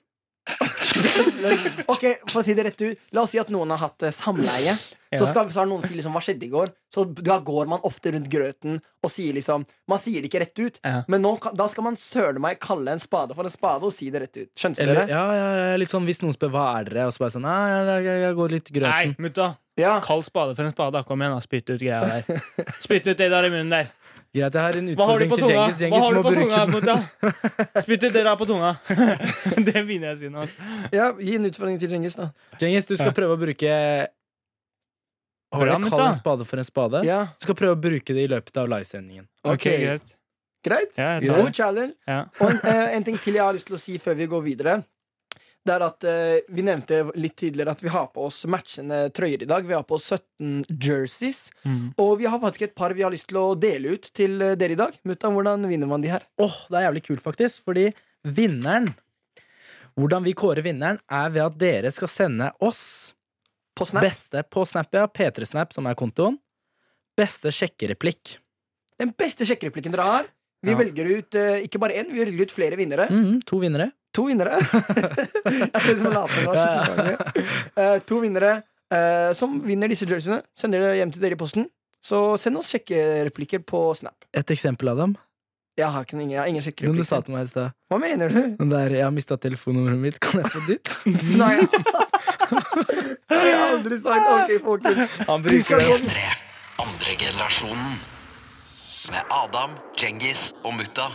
Speaker 2: Ok, for å si det rett ut La oss si at noen har hatt eh, samleie. Så,
Speaker 3: Ja.
Speaker 2: skal, så har noen si liksom, 'hva skjedde i går?' Så da går man ofte rundt grøten og sier liksom Man sier det ikke rett ut,
Speaker 3: Ja.
Speaker 2: men nå, kan- da skal man søren meg kalle en spade for en spade og si det rett ut. Skjønte
Speaker 4: Eller,
Speaker 2: dere?
Speaker 4: ja, ja, ja, litt sånn hvis noen spør hva er dere, og så bare sånn Nei, jeg, jeg, jeg går litt
Speaker 3: Nei,
Speaker 4: grøten.
Speaker 3: mutta!
Speaker 2: Ja.
Speaker 3: Kall spade for en spade. da. Kom igjen, da. Spytt ut greia
Speaker 4: *laughs*
Speaker 3: der. Spytt ut det der i munnen der.
Speaker 4: Greit, jeg har en
Speaker 3: Hva har du
Speaker 4: utfordring
Speaker 3: på
Speaker 4: til
Speaker 3: tunga?
Speaker 4: Djengis.
Speaker 3: Hva
Speaker 4: Djengis
Speaker 3: har du
Speaker 4: må
Speaker 3: på tunga,
Speaker 4: bruke den.
Speaker 3: mutta?
Speaker 4: *laughs*
Speaker 3: Spytt ut det der på tunga. *laughs* Det begynner jeg å si nå.
Speaker 2: ja, Gi en utfordring til Djengis, da.
Speaker 4: Djengis, du skal
Speaker 3: Ja.
Speaker 4: prøve å bruke Har
Speaker 3: Bra,
Speaker 4: du
Speaker 3: mutta.
Speaker 4: kall en spade for en spade?
Speaker 2: Ja,
Speaker 4: Du skal prøve å bruke det i løpet av livesendingen.
Speaker 2: ok,
Speaker 3: greit.
Speaker 2: Greit?
Speaker 3: Ja, jeg tar
Speaker 2: God
Speaker 3: det.
Speaker 2: challenge.
Speaker 3: Ja.
Speaker 2: Og en, eh, en ting til jeg har lyst til å si før vi går videre. Det er at eh, Vi nevnte litt tidligere at vi har på oss matchende trøyer i dag. Vi har på oss 17 jerseys.
Speaker 3: Mm.
Speaker 2: Og vi har faktisk et par vi har lyst til å dele ut til eh, dere i dag. Muttan, hvordan vinner man de her?
Speaker 4: Åh, det er jævlig kult, faktisk, fordi vinneren Hvordan vi kårer vinneren, er ved at dere skal sende oss
Speaker 2: På Snap?
Speaker 4: beste på Snap, ja, P3snap, som er kontoen, beste sjekkereplikk.
Speaker 2: Den beste sjekkereplikken dere har. Vi
Speaker 4: Ja.
Speaker 2: velger ut eh, ikke bare én, vi velger ut flere vinnere.
Speaker 4: Mhm, to vinnere.
Speaker 2: To
Speaker 4: *laughs*
Speaker 2: vinnere. *laughs* jeg prøvde som å late som det var skikkelig mange. Eh, to vinnere eh, som vinner disse jerseyene. Sender det hjem til dere i posten. Så send oss sjekkereplikker på Snap.
Speaker 4: Et eksempel av dem.
Speaker 2: Jeg har ikke ingen, jeg har ingen
Speaker 4: Den du sa
Speaker 2: sjekkereplikker.
Speaker 4: til meg i stad.
Speaker 2: Hva mener
Speaker 4: *laughs*
Speaker 2: du?
Speaker 4: Den der 'jeg har mista telefonnummeret mitt, kan jeg få ditt?'
Speaker 2: Nei. jeg har aldri sagt OK, folkens.
Speaker 4: Han
Speaker 2: Du skal gå den.
Speaker 1: P3. Andre generasjonen. Med Adam, Djengis og Mutta.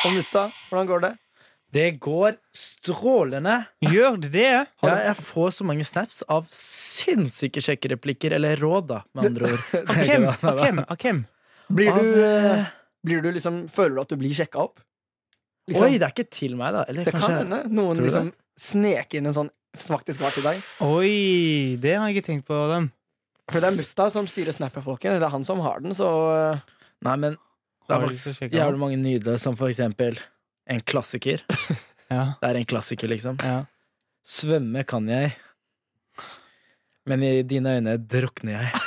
Speaker 2: Og mutta, hvordan går det?
Speaker 4: *laughs* Det går strålende.
Speaker 3: Gjør det det?
Speaker 4: Ja, jeg får så mange snaps av sinnssyke sjekkereplikker, eller råd, da, med andre ord.
Speaker 3: Av
Speaker 2: *laughs*
Speaker 3: hvem? Av hvem? Av hvem?
Speaker 2: Blir
Speaker 4: Av,
Speaker 2: du,
Speaker 4: eh,
Speaker 2: blir du liksom Føler du at du blir sjekka opp?
Speaker 4: Oi,
Speaker 2: Liksom,
Speaker 4: det er ikke til meg, da. Eller
Speaker 2: det kan
Speaker 4: kanskje
Speaker 2: hende noen
Speaker 4: Tror du det?
Speaker 2: liksom sneker inn en sånn faktisk var til deg.
Speaker 3: Oi, det har jeg ikke tenkt på. Adam.
Speaker 2: For det er mutta som styrer snappet, folkens. Det er han som har den, så eh,
Speaker 4: Nei, men det
Speaker 3: Har
Speaker 4: er
Speaker 3: du lyst til å
Speaker 4: faktisk
Speaker 3: sjekke den?
Speaker 4: jævlig mange nydelige, som for eksempel en klassiker.
Speaker 3: Ja.
Speaker 4: Det er en klassiker, liksom.
Speaker 3: Ja.
Speaker 4: Svømme kan jeg, men i dine øyne drukner jeg.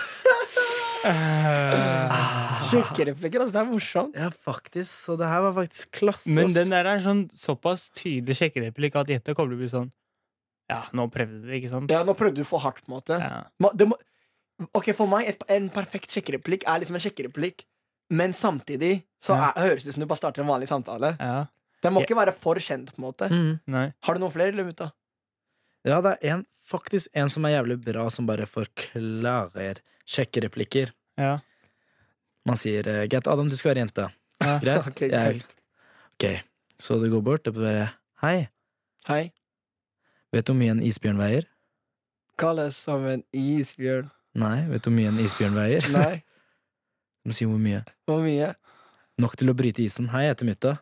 Speaker 3: Eh,
Speaker 2: Ah,
Speaker 4: Ah.
Speaker 2: Sjekkereplikker, altså. Det er morsomt.
Speaker 4: Ja, faktisk. Så det her var faktisk klasse.
Speaker 3: Men
Speaker 4: ass.
Speaker 3: den der er sånn såpass tydelig sjekkereplikk at jenta kommer til å bli sånn Ja, nå prøvde du, ikke sant?
Speaker 2: Ja, nå prøvde du for hardt, på en måte.
Speaker 3: Ja.
Speaker 2: Ma- Det må, ok, For meg, et, en perfekt sjekkereplikk er liksom en sjekkereplikk, men samtidig så
Speaker 3: Ja.
Speaker 2: er, høres det ut som du bare starter en vanlig samtale.
Speaker 3: ja.
Speaker 2: Den må
Speaker 3: Ja.
Speaker 2: ikke være for kjent, på en måte.
Speaker 4: Mm.
Speaker 3: Nei.
Speaker 2: Har du noen flere, eller, mutta?
Speaker 4: Ja, det er en, faktisk en som er jævlig bra, som bare forklarer sjekkereplikker.
Speaker 3: Ja.
Speaker 4: Man sier eh, 'Greit, Adam, du skal være jente'.
Speaker 3: Ja.
Speaker 4: Ah, *laughs* Greit?
Speaker 2: *laughs* Ok,
Speaker 4: Jeg- ok. Så du går bort og bare 'Hei,
Speaker 2: Hei.
Speaker 4: vet du hvor mye en isbjørn veier?'
Speaker 2: Kall deg som en isbjørn.
Speaker 4: Nei, vet du hvor mye en isbjørn veier?
Speaker 2: Nei.
Speaker 4: *laughs* De sier hvor mye.
Speaker 2: Hvor mye?
Speaker 4: Nok til å bryte isen. Hei, jeg heter Mutta.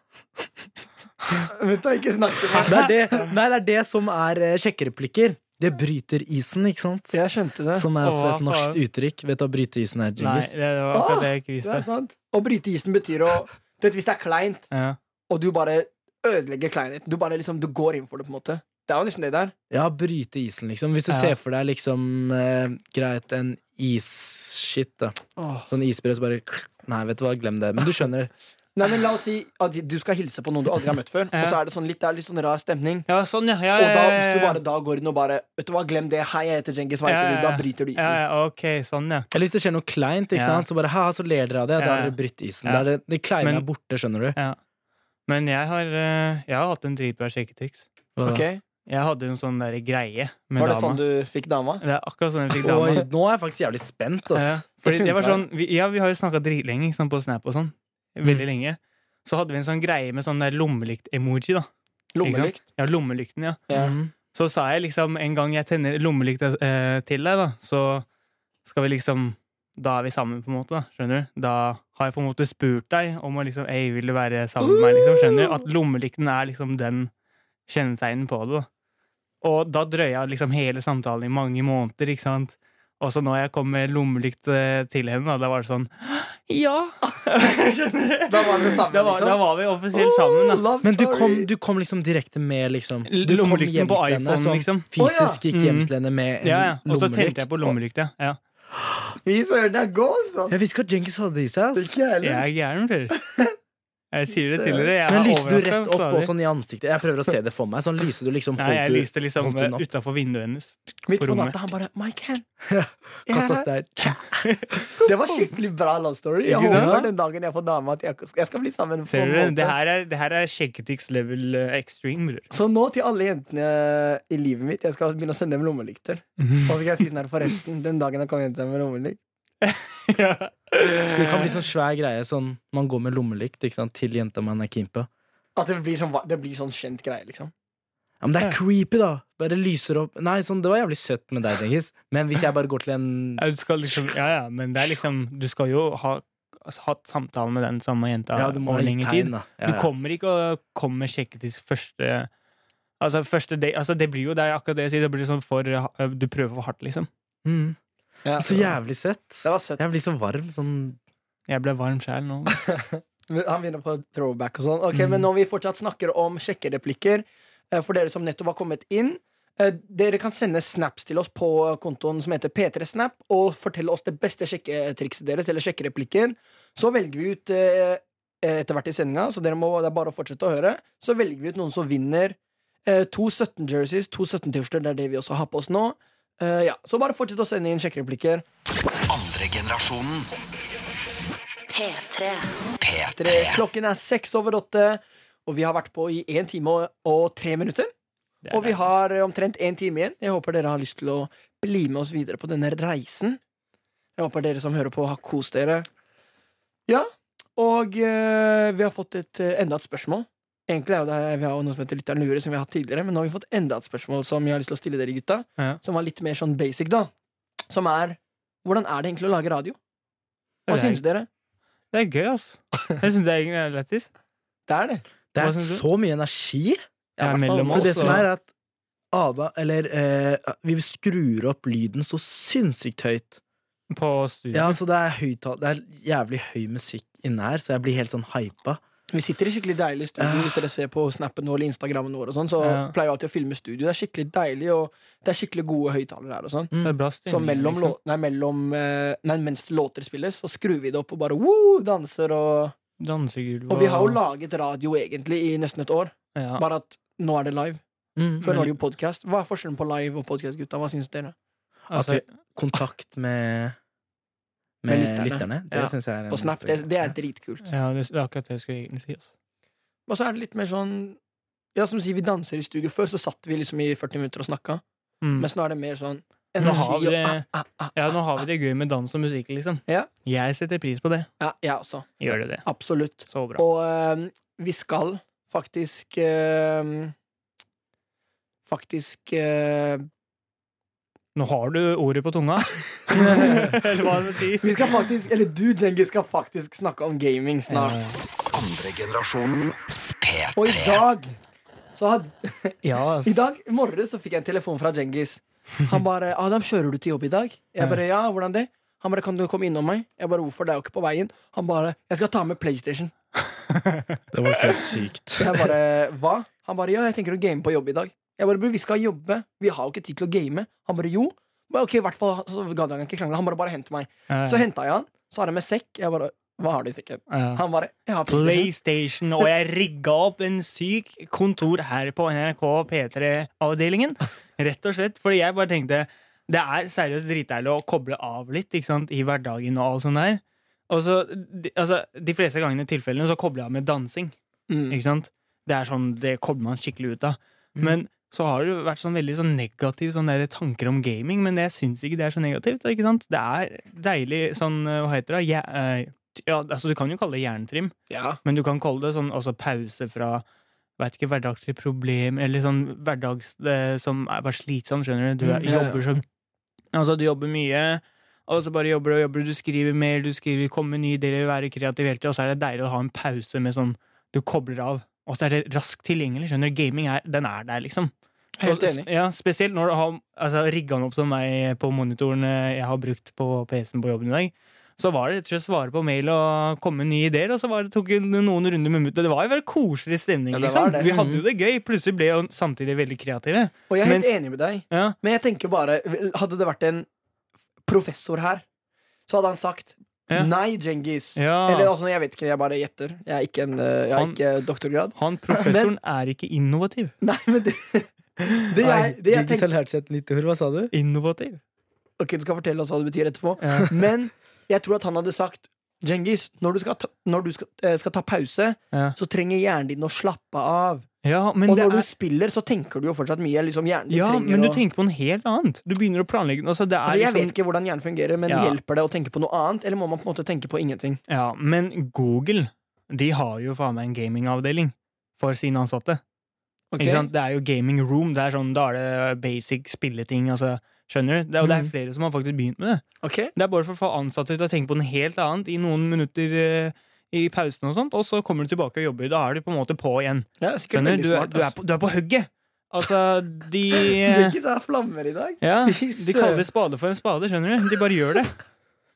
Speaker 2: Mutta, ikke snakk til meg.
Speaker 4: Det
Speaker 3: *laughs*
Speaker 4: er det, nei, det er det som er eh, sjekkereplikker. Det bryter isen, ikke sant?
Speaker 2: Jeg skjønte det.
Speaker 4: Som er også
Speaker 3: Å, hva
Speaker 4: et norsk
Speaker 3: faen?
Speaker 4: uttrykk. Vet du hva bryte isen er,
Speaker 3: Nei,
Speaker 4: Djengis?
Speaker 3: det var akkurat det jeg
Speaker 2: Ah,
Speaker 3: ikke
Speaker 2: Det
Speaker 3: visste.
Speaker 2: er sant. Å bryte isen betyr å Du vet, Hvis det er kleint,
Speaker 3: Ja.
Speaker 2: og du bare ødelegger kleinheten Du bare liksom, du går inn for det, på en måte. Det er jo nesten det der.
Speaker 4: Ja, bryte isen, liksom. Hvis du
Speaker 3: Ja.
Speaker 4: ser for deg liksom eh, greit, en isshit, da. Sånn isbre, så bare Nei, vet du hva, glem det. Men du skjønner.
Speaker 2: Nei, men La oss si at du skal hilse på noen du aldri har møtt før, og så er det sånn litt, det er litt sånn rar stemning.
Speaker 3: ja, sånn, ja. ja,
Speaker 2: Og
Speaker 3: ja, ja,
Speaker 2: da,
Speaker 3: ja,
Speaker 2: hvis du bare da går inn og bare Vet du hva, glem det, hei, jeg heter Djengis, hva heter
Speaker 3: Ja, ja,
Speaker 2: du? Da
Speaker 3: ja.
Speaker 2: bryter du
Speaker 3: ja,
Speaker 2: isen.
Speaker 3: ja, ok, sånn, ja.
Speaker 4: Eller hvis det skjer noe kleint, ikke
Speaker 3: Ja.
Speaker 4: sant? så bare ha, så ler dere av det. Da
Speaker 3: Ja.
Speaker 4: har dere brytt isen.
Speaker 3: Ja.
Speaker 4: Da er det, det kleine
Speaker 3: Men-
Speaker 4: er borte, skjønner du.
Speaker 3: ja. Men jeg har, eh, jeg har hatt en dritbra sjekketriks.
Speaker 4: Hva da?
Speaker 2: Ok,
Speaker 3: Jeg hadde en sånn der greie med
Speaker 2: Var
Speaker 3: dama.
Speaker 2: det sånn du fikk dama?
Speaker 3: Det er akkurat sånn jeg fikk dama.
Speaker 4: Oi, nå er jeg faktisk jævlig spent, ass.
Speaker 3: Ja, fordi det var
Speaker 2: funker.
Speaker 3: sånn, vi, ja, vi har jo snakka dritlenge ikke sant, på Snap og sånn. Veldig lenge. Så hadde vi en sånn greie med sånn der lommelykt-emoji. da Ikke sant?
Speaker 2: Lommelykt?
Speaker 3: Ja, lommelykten, ja.
Speaker 2: Ja.
Speaker 4: Mm.
Speaker 3: Så sa jeg liksom en gang jeg tenner lommelykta eh, til deg, da, så skal vi liksom Da er vi sammen, på en måte. Da skjønner du? Da har jeg på en måte spurt deg om å liksom Ei, vil du være sammen med meg? liksom, skjønner du? At lommelykten er liksom den kjennetegnen på det. da Og da drøya liksom hele samtalen i mange måneder, ikke sant? Og så når jeg kom med lommelykt eh, til henne, da, da var det sånn Ja! skjønner du?
Speaker 2: Da var det sammen,
Speaker 3: Da var, da
Speaker 2: liksom?
Speaker 3: var vi offisielt sammen, da.
Speaker 2: Oh, love
Speaker 4: Men du
Speaker 2: story.
Speaker 4: kom, du kom liksom direkte med, liksom. Du kom
Speaker 3: Lommelykten
Speaker 4: hjem
Speaker 3: på
Speaker 4: til henne,
Speaker 3: iPhone,
Speaker 4: sånn
Speaker 3: liksom.
Speaker 4: Fysisk gikk hjem
Speaker 3: Mm.
Speaker 4: til henne med en
Speaker 3: Ja, ja. Og så
Speaker 4: lommelykt.
Speaker 3: tente jeg på lommelykt, ja. ja.
Speaker 2: Fy søren, det er goals, ass!
Speaker 4: Jeg visste ikke at Djenkis hadde det i seg.
Speaker 2: Det er
Speaker 4: ass.
Speaker 2: ikke jeg heller.
Speaker 3: Jeg er gæren, fyr. Jeg sier det til dere. Jeg
Speaker 4: Men
Speaker 3: er
Speaker 4: lyste du rett
Speaker 3: overrasket,
Speaker 4: opp og
Speaker 3: stadig.
Speaker 4: sånn i ansiktet? Jeg prøver å se det for meg. Sånn lyste du liksom
Speaker 3: Nei, jeg
Speaker 4: du-
Speaker 3: lyste liksom
Speaker 4: holdt hun opp?
Speaker 3: utafor vinduet hennes.
Speaker 2: Midt
Speaker 3: på
Speaker 2: på
Speaker 3: rommet.
Speaker 2: natta, han bare My can.
Speaker 4: Kastet stein.
Speaker 2: Det var skikkelig bra love story. Jeg
Speaker 3: Ikke sant?
Speaker 2: håper den dagen jeg får dame, at jeg, jeg skal bli sammen. på
Speaker 3: Ser
Speaker 2: en
Speaker 3: dere?
Speaker 2: måte.
Speaker 3: Det her er, det her er skjeggetics level eh, extreme,
Speaker 2: *laughs*
Speaker 3: bror.
Speaker 2: Så nå til alle jentene i livet mitt, jeg skal begynne å sende dem lommelykter.
Speaker 3: Mhm.
Speaker 2: Og så skal jeg si sånn her forresten, den dagen jeg kommer hjem til deg med lommelykt.
Speaker 4: Så Det kan bli sånn svær greie. Sånn, man går med lommelykt ikke sant, til jenta man er keen på.
Speaker 2: At det blir, sånn, va- det blir sånn kjent greie, liksom.
Speaker 4: Ja, men det er
Speaker 3: Ja.
Speaker 4: creepy, da. Bare lyser opp Nei, sånn, det var jævlig søtt med deg, Dengis. Men hvis jeg bare går til en
Speaker 3: Ja, du skal liksom, ja, ja, men det er liksom Du skal jo ha altså, hatt samtale med den samme jenta
Speaker 4: Ja, du må ha
Speaker 3: over
Speaker 4: litt
Speaker 3: lengre
Speaker 4: tegn,
Speaker 3: tid.
Speaker 4: da. Ja,
Speaker 3: Du
Speaker 4: ja.
Speaker 3: kommer ikke og kommer skjeggetics første Altså, første date altså, Det blir jo det er akkurat det jeg sier. Det blir sånn for eh, Du prøver for hardt, liksom.
Speaker 4: Mm.
Speaker 2: Ja.
Speaker 4: Så jævlig søtt.
Speaker 2: Det var søtt.
Speaker 4: Jeg blir så varm. Sånn
Speaker 3: Jeg ble varm sjæl nå.
Speaker 2: Han begynner på throwback og sånn. Ok, Men når vi fortsatt snakker om sjekkereplikker, eh, for dere som nettopp har kommet inn eh, Dere kan sende snaps til oss på kontoen som heter P3snap, og fortelle oss det beste sjekketrikset deres, eller sjekkereplikken. Så velger vi ut eh, etter hvert i sendinga, så dere må, det er bare å fortsette å høre. Så velger vi ut noen som vinner eh, to 17 jerseys, to 17-T-skjorter. Det er det vi også har på oss nå. Eh, ja, Så bare fortsett å sende inn sjekkereplikker.
Speaker 1: Andre generasjonen.
Speaker 5: P3.
Speaker 2: Tre.
Speaker 3: Ah,
Speaker 1: P3.
Speaker 2: Klokken er seks over åtte, og vi har vært på i én time og, og tre minutter.
Speaker 3: Det er
Speaker 2: Og vi
Speaker 3: deilig.
Speaker 2: har eh, omtrent én time igjen. Jeg håper dere har lyst til å bli med oss videre på denne reisen. Jeg håper dere som hører på, har kost dere. Ja, og eh, vi har fått et, eh, enda et spørsmål. Egentlig er jo det, Vi har jo noe som heter Lytteren lurer, som vi har hatt tidligere, men nå har vi fått enda et spørsmål som jeg har lyst til å stille dere, gutta.
Speaker 3: Ja.
Speaker 2: Som var litt mer sånn basic, da. Som er Hvordan er det egentlig å lage radio? Hva
Speaker 3: Det er-
Speaker 2: syns dere?
Speaker 3: Det er gøy, ass. Jeg syns det er egentlig er lættis.
Speaker 2: Det er det.
Speaker 4: Det er
Speaker 3: Hva syns du?
Speaker 4: så mye energi.
Speaker 3: Det
Speaker 2: i hvert
Speaker 3: er
Speaker 2: fall
Speaker 3: mellom
Speaker 2: for
Speaker 4: For
Speaker 3: oss.
Speaker 4: det som
Speaker 3: og-
Speaker 4: er at Ada, eller eh, Vi skrur opp lyden så sinnssykt høyt.
Speaker 3: På studio.
Speaker 4: Ja, så det er, høytal, det er jævlig høy musikk inne her, så jeg blir helt sånn hypa.
Speaker 2: Vi sitter i skikkelig deilig studio. Hvis dere ser på snappen vår eller Instagrammen vår, og sånn, så
Speaker 3: Ah. Ja.
Speaker 2: pleier vi alltid å filme studio. Det er skikkelig deilig, og det er skikkelig gode høyttalere her. og sånn
Speaker 3: Så det er bra stemning,
Speaker 2: Så mellom,
Speaker 3: liksom.
Speaker 2: lå- nei, mellom eh, Nei, mens låter spilles, så skrur vi det opp og bare woo, danser og
Speaker 3: Dansegulv
Speaker 2: Og vi har jo laget radio egentlig i nesten et år,
Speaker 3: ja.
Speaker 2: bare at nå er det live.
Speaker 4: Mm.
Speaker 2: Før var det jo podkast. Hva er forskjellen på live og podkast, gutta? Hva syns dere?
Speaker 4: At
Speaker 3: altså,
Speaker 4: vi kontakt med
Speaker 2: Med
Speaker 4: med
Speaker 2: lytterne.
Speaker 4: lytterne. Det
Speaker 2: Ja.
Speaker 4: syns jeg er en
Speaker 2: På Snap? Det, det er dritkult.
Speaker 3: ja, det det er akkurat det jeg skulle egentlig si. altså. ass.
Speaker 2: Og så er det litt mer sånn Ja, som sier, vi danser i studio. Før så satt vi liksom i 40 minutter og snakka,
Speaker 3: Mm.
Speaker 2: mens nå er det mer sånn
Speaker 3: Nå har vi
Speaker 2: energi og
Speaker 3: det-
Speaker 2: ah, ah, ah.
Speaker 3: Ja, nå har vi det gøy med dans og musikk, liksom.
Speaker 2: Ja.
Speaker 3: Jeg setter pris på det.
Speaker 2: Ja, jeg også.
Speaker 3: Gjør det det?
Speaker 2: Absolutt.
Speaker 3: Så bra.
Speaker 2: Og eh, vi skal faktisk eh, Faktisk eh,
Speaker 3: Nå har du ordet på
Speaker 2: *laughs*
Speaker 3: tunga. Eller hva det sier.
Speaker 2: Vi skal faktisk, eller du, Djengis, skal faktisk snakke om gaming snart.
Speaker 1: Andre generasjonen.
Speaker 2: Og i
Speaker 1: P3.
Speaker 2: dag så har,
Speaker 3: Ja, ass.
Speaker 2: I dag i morges så fikk jeg en telefon fra Djengis. Han bare 'Adam, kjører du til jobb i dag?' Jeg bare 'Ja, hvordan det?' Han bare 'Kan du komme innom meg?' Jeg bare 'Hvorfor? Det er jo ikke på veien'. Han bare 'Jeg skal ta med PlayStation'.
Speaker 4: Det var helt sykt.
Speaker 2: Jeg bare, hva? Han bare, ja, jeg tenker å game på jobb i dag. Jeg bare, bror, vi skal jobbe. Vi har jo ikke tid til å game. Han bare, jo. Men ok, i hvert fall, så gadd han ikke krangle. Han bare, bare hent meg.
Speaker 3: Ja, ja.
Speaker 2: Så henta jeg han, så har jeg med sekk. Jeg bare, hva har du i sekken?
Speaker 3: Ja.
Speaker 2: Han bare, jeg har PlayStation.
Speaker 3: PlayStation, og jeg rigga opp en syk kontor her på NRK P3-avdelingen. Rett og slett, fordi jeg bare tenkte det er seriøst dritdeilig å koble av litt ikke sant, i hverdagen og alt sånt der. Og så, de, altså, de fleste gangene i tilfellene så kobler jeg av med dansing.
Speaker 2: Mm.
Speaker 3: Ikke sant? Det er sånn, det kommer man skikkelig ut av. Men så har det jo vært sånn veldig sånn negativ sånn der tanker om gaming, men jeg syns ikke det er så negativt. ikke sant? Det er deilig sånn, eh, hva heter det? Ja, eh, t- ja, altså Du kan jo kalle det jerntrim,
Speaker 2: Ja.
Speaker 3: men du kan kalle det sånn også pause fra vet ikke, hverdagslige problemer, eller sånn hverdags eh, som er bare slitsom, skjønner du. Du er,
Speaker 2: Mm, ja, ja.
Speaker 3: jobber så Altså, du jobber mye, og så bare jobber du og jobber, du skriver mer, du skriver, kommer med nye ideer, være kreativ hele tida, og så er det deilig å ha en pause med sånn du kobler av, og så er det raskt tilgjengelig. skjønner du? Gaming er, den er der, liksom.
Speaker 2: Helt
Speaker 3: Og-
Speaker 2: enig.
Speaker 3: Ja, Spesielt når du har altså, rigga den opp som meg på monitoren eh, jeg har brukt på PC-en på jobben i dag. Så var det rett og slett svare på mail og komme med nye ideer, og så var det, tok det noen runder med mutter. Det var jo bare koselig stemning,
Speaker 2: Ja, det var
Speaker 3: liksom.
Speaker 2: det.
Speaker 3: Vi hadde jo det gøy. Plutselig ble jo samtidig veldig kreative.
Speaker 2: Og jeg er helt
Speaker 3: Mens-
Speaker 2: enig med deg.
Speaker 3: Ja.
Speaker 2: Men jeg tenker bare, hadde det vært en professor her, så hadde han sagt
Speaker 3: Ja.
Speaker 2: Nei, Djengis.
Speaker 3: Ja.
Speaker 2: Eller altså, jeg vet ikke, jeg bare gjetter. Jeg er ikke en eh, jeg har
Speaker 3: Han-
Speaker 2: ikke doktorgrad. *laughs*
Speaker 3: Han professoren er ikke innovativ.
Speaker 2: Nei, men det det jeg, det jeg tenkte,
Speaker 4: lærte seg et nytt ord. Hva sa du?
Speaker 3: Innovativ?
Speaker 2: Ok, Du skal fortelle oss hva det betyr etterpå.
Speaker 3: Ja.
Speaker 2: *laughs* Men jeg tror at han hadde sagt Djengis, når du skal ta, når du skal, eh, skal ta pause,
Speaker 3: Ja.
Speaker 2: så trenger hjernen din å slappe av.
Speaker 3: Ja, men
Speaker 2: og
Speaker 3: det
Speaker 2: når du
Speaker 3: er
Speaker 2: spiller, så tenker du jo fortsatt mye. Liksom, hjernen din
Speaker 3: ja,
Speaker 2: trenger
Speaker 3: men du
Speaker 2: å-
Speaker 3: tenker på noe helt annet. Du begynner å planlegge altså, det
Speaker 2: altså,
Speaker 3: er
Speaker 2: Jeg
Speaker 3: liksom,
Speaker 2: vet ikke hvordan hjernen fungerer, men
Speaker 3: Ja.
Speaker 2: hjelper det å tenke på noe annet? Eller må man på en måte tenke på ingenting?
Speaker 3: ja, Men Google de har jo faen meg en gamingavdeling for sine ansatte.
Speaker 2: Ok?
Speaker 3: Ikke sant? Det er jo gaming room. Det er sånn, Da er det basic spilleting. Altså, skjønner du? Det er, og det er
Speaker 2: Mhm.
Speaker 3: flere som har faktisk begynt med det.
Speaker 2: Ok?
Speaker 3: Det er bare for å få ansatte til å tenke på noe helt annet i noen minutter eh, i pausen, og sånt, og så kommer du tilbake og jobber. Da er du på en måte på igjen.
Speaker 2: Ja, det er sikkert
Speaker 3: Skjønner?
Speaker 2: veldig
Speaker 3: Du, er-
Speaker 2: smart.
Speaker 3: du, er,
Speaker 2: *laughs*
Speaker 3: på, du er på hugget! Altså, de eh,
Speaker 2: Jenkins er flammer i dag. *laughs*
Speaker 3: Ja,
Speaker 2: Fy
Speaker 3: de kaller spade for en spade, skjønner du? De bare gjør
Speaker 2: *laughs*
Speaker 3: det.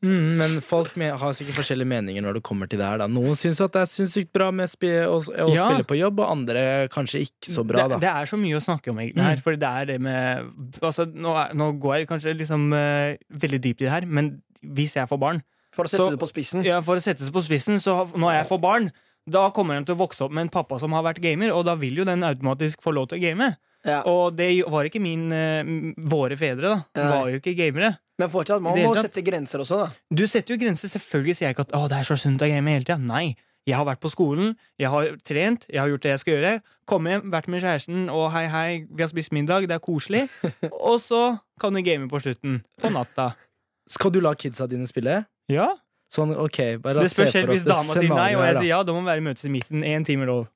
Speaker 4: Mm, men folk me- har sikkert forskjellige meninger når det kommer til det her. Da. Noen syns at det er sinnssykt bra med spi å, å
Speaker 3: Ja.
Speaker 4: spille på jobb, og andre kanskje ikke så bra,
Speaker 3: det,
Speaker 4: da.
Speaker 3: det er så mye å snakke om egentlig
Speaker 2: Mm.
Speaker 3: her, for det er det med altså, nå, er, nå går jeg kanskje liksom eh, veldig dypt i det her, men hvis jeg får barn
Speaker 2: For å sette
Speaker 3: Så-
Speaker 2: det på spissen.
Speaker 3: ja, For å sette seg på spissen, så har- når jeg får barn, da kommer de til å vokse opp med en pappa som har vært gamer, og da vil jo den automatisk få lov til å game.
Speaker 2: Ja.
Speaker 3: Og det var ikke min eh, m- Våre fedre, da.
Speaker 2: Nei.
Speaker 3: Var jo ikke gamere.
Speaker 2: Men fortsatt, man
Speaker 3: I det
Speaker 2: må
Speaker 3: hele tatt.
Speaker 2: sette grenser også, da.
Speaker 3: Du setter jo grenser. Selvfølgelig sier jeg ikke at å, det er så sunt å game hele tida. Nei. Jeg har vært på skolen, jeg har trent, jeg har gjort det jeg skal gjøre. Komme hjem, vært med kjæresten, og hei, hei, vi har spist middag, det er koselig. *laughs* og så kan du game på slutten. På natta.
Speaker 4: Skal du la kidsa dine spille?
Speaker 3: Ja.
Speaker 4: Sånn, ok, bare
Speaker 3: Det
Speaker 4: se
Speaker 3: spørs
Speaker 4: for
Speaker 3: helt
Speaker 4: oss
Speaker 3: hvis
Speaker 4: det
Speaker 3: dama sier nei, og
Speaker 4: scenarioet her,
Speaker 3: jeg
Speaker 4: da.
Speaker 3: sier ja, da må vi være i møte til midten. Én time lov.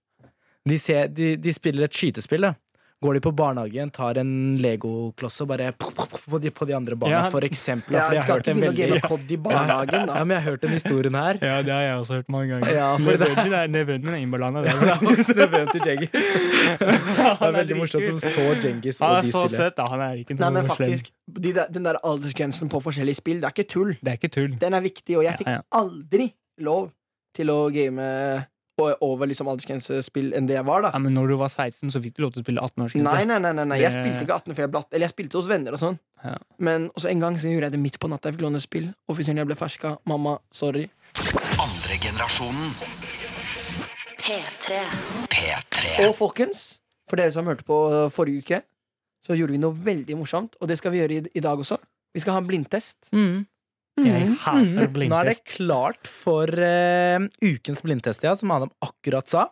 Speaker 4: De, ser, de, de spiller et skytespill, da. Går de på barnehagen, tar en legokloss og bare pop, pop, pop, på de, på de andre barna,
Speaker 3: Ja.
Speaker 4: for eksempel. da,
Speaker 2: Ja, jeg
Speaker 4: for jeg har
Speaker 2: skal
Speaker 4: hørt
Speaker 2: ikke
Speaker 4: den
Speaker 2: begynne å
Speaker 4: veldig
Speaker 2: game COD i barnehagen,
Speaker 3: *laughs*
Speaker 4: Ja,
Speaker 2: da.
Speaker 4: men jeg har hørt den historien her.
Speaker 3: Ja, det har jeg også hørt mange ganger.
Speaker 2: Ja, for
Speaker 3: Nevøen min er- nevøen min er innballanda.
Speaker 4: *laughs*
Speaker 3: Det
Speaker 4: *laughs* Det er faktisk nevøen til Djengis. Det er
Speaker 3: er
Speaker 4: veldig morsomt som så Djengis
Speaker 3: Han
Speaker 4: og
Speaker 3: er
Speaker 4: de
Speaker 3: så
Speaker 4: spiller.
Speaker 3: søt, da. Han er ikke
Speaker 2: Nei,
Speaker 3: noe
Speaker 2: men
Speaker 3: slem.
Speaker 2: faktisk, de der, den der aldersgrensen på forskjellige spill, det er ikke tull.
Speaker 3: Det er ikke tull.
Speaker 2: Den er viktig, og jeg fikk
Speaker 3: Ja, ja.
Speaker 2: aldri lov til å game o- over liksom aldersgrensespill enn det jeg var, da.
Speaker 3: Ja, men når du var 16, så fikk du lov til å spille 18-årsgrense.
Speaker 2: Nei, nei, nei, nei, nei. jeg
Speaker 3: Det-
Speaker 2: spilte ikke 18 før jeg ble 18. Eller jeg spilte hos venner og sånn.
Speaker 3: Ja.
Speaker 2: Men også en gang så gjorde jeg det midt på natta. Jeg fikk låne et spill. Offiseren jeg ble ferska. Mamma, sorry.
Speaker 1: Andre generasjonen
Speaker 5: P3.
Speaker 1: P3
Speaker 2: Og folkens, for dere som hørte på øh, forrige uke, så gjorde vi noe veldig morsomt, og det skal vi gjøre i, i dag også. Vi skal ha en blindtest.
Speaker 4: Mm.
Speaker 3: Jeg hater
Speaker 4: Nå er det
Speaker 3: blindtest.
Speaker 4: klart for eh, ukens blindtest, ja, som Adam akkurat sa.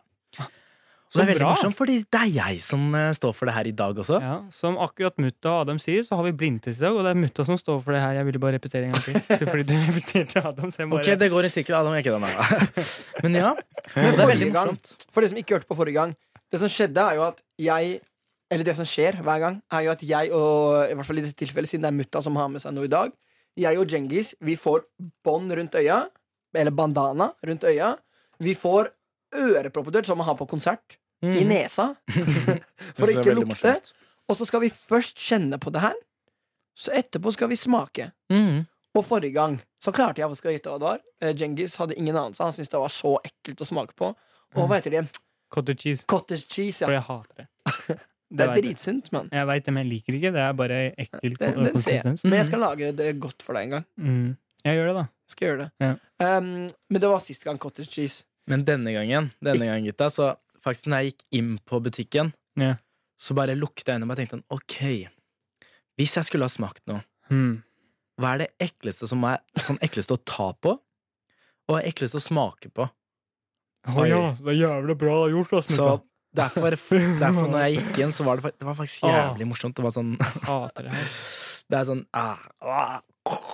Speaker 4: Og
Speaker 3: Så
Speaker 4: det er veldig
Speaker 3: bra.
Speaker 4: morsomt, fordi det er jeg som eh, står for det her i dag også.
Speaker 3: Ja, som akkurat mutta og Adam sier, så har vi blindtest i dag, og det er mutta som står for det her. Jeg ville bare repetere en gang til. Så fordi du *laughs* repeterte Adam, så jeg bare
Speaker 4: Ok, det går i sirkel. Adam gjør ikke det nå. *laughs* Men ja.
Speaker 2: Men
Speaker 4: det er veldig
Speaker 2: forrige gang,
Speaker 4: morsomt.
Speaker 2: for dere som ikke hørte på forrige gang, det som skjedde, er jo at jeg Eller det som skjer hver gang, er jo at jeg og I hvert fall i dette tilfellet, siden det er mutta som har med seg noe i dag, jeg og Djengis, vi får bånd rundt øya. Eller bandana rundt øya. Vi får øreproppetørt, som man har på konsert, i
Speaker 4: Mm.
Speaker 2: nesa.
Speaker 4: *laughs*
Speaker 2: *laughs* For å
Speaker 4: Det er
Speaker 2: ikke
Speaker 4: veldig
Speaker 2: lukte.
Speaker 4: morsomt.
Speaker 2: Og så skal vi først kjenne på det her. Så etterpå skal vi smake.
Speaker 4: Mm.
Speaker 2: Og forrige gang så klarte jeg faktisk å gjette hva det var. Eh, Djengis hadde ingen anelse. Han syntes det var så ekkelt å smake på. Og hva heter det?
Speaker 3: Cottage cheese.
Speaker 2: Cottage cheese,
Speaker 3: For
Speaker 2: ja.
Speaker 3: jeg
Speaker 2: *laughs*
Speaker 3: hater det.
Speaker 2: Det er
Speaker 3: vet jeg.
Speaker 2: dritsunt, mann.
Speaker 3: Jeg veit det, men jeg liker det ikke. Det er bare
Speaker 2: Den,
Speaker 3: ekkel
Speaker 2: den ser jeg.
Speaker 3: konsistens.
Speaker 2: Men jeg skal lage det godt for deg en gang.
Speaker 3: Mm. Jeg gjør det, da.
Speaker 2: Jeg skal gjøre det. Um, men det var sist gang cottage cheese.
Speaker 4: Men denne gangen, denne gangen, gutta, så faktisk når jeg gikk inn på butikken,
Speaker 3: Ja.
Speaker 4: så bare lukta jeg innom og tenkte sånn, ok, hvis jeg skulle ha smakt noe,
Speaker 3: Mm.
Speaker 4: Hmm. hva er det ekleste som er sånn ekleste å ta på, og ekleste å smake på?
Speaker 3: Å ja, det er jævlig bra gjort, ass,
Speaker 4: Så
Speaker 3: mutta.
Speaker 4: derfor, derfor når jeg gikk inn, så var det, fak- det var faktisk jævlig morsomt. Det var sånn,
Speaker 3: Hater det her.
Speaker 4: det er sånn, ah, ah.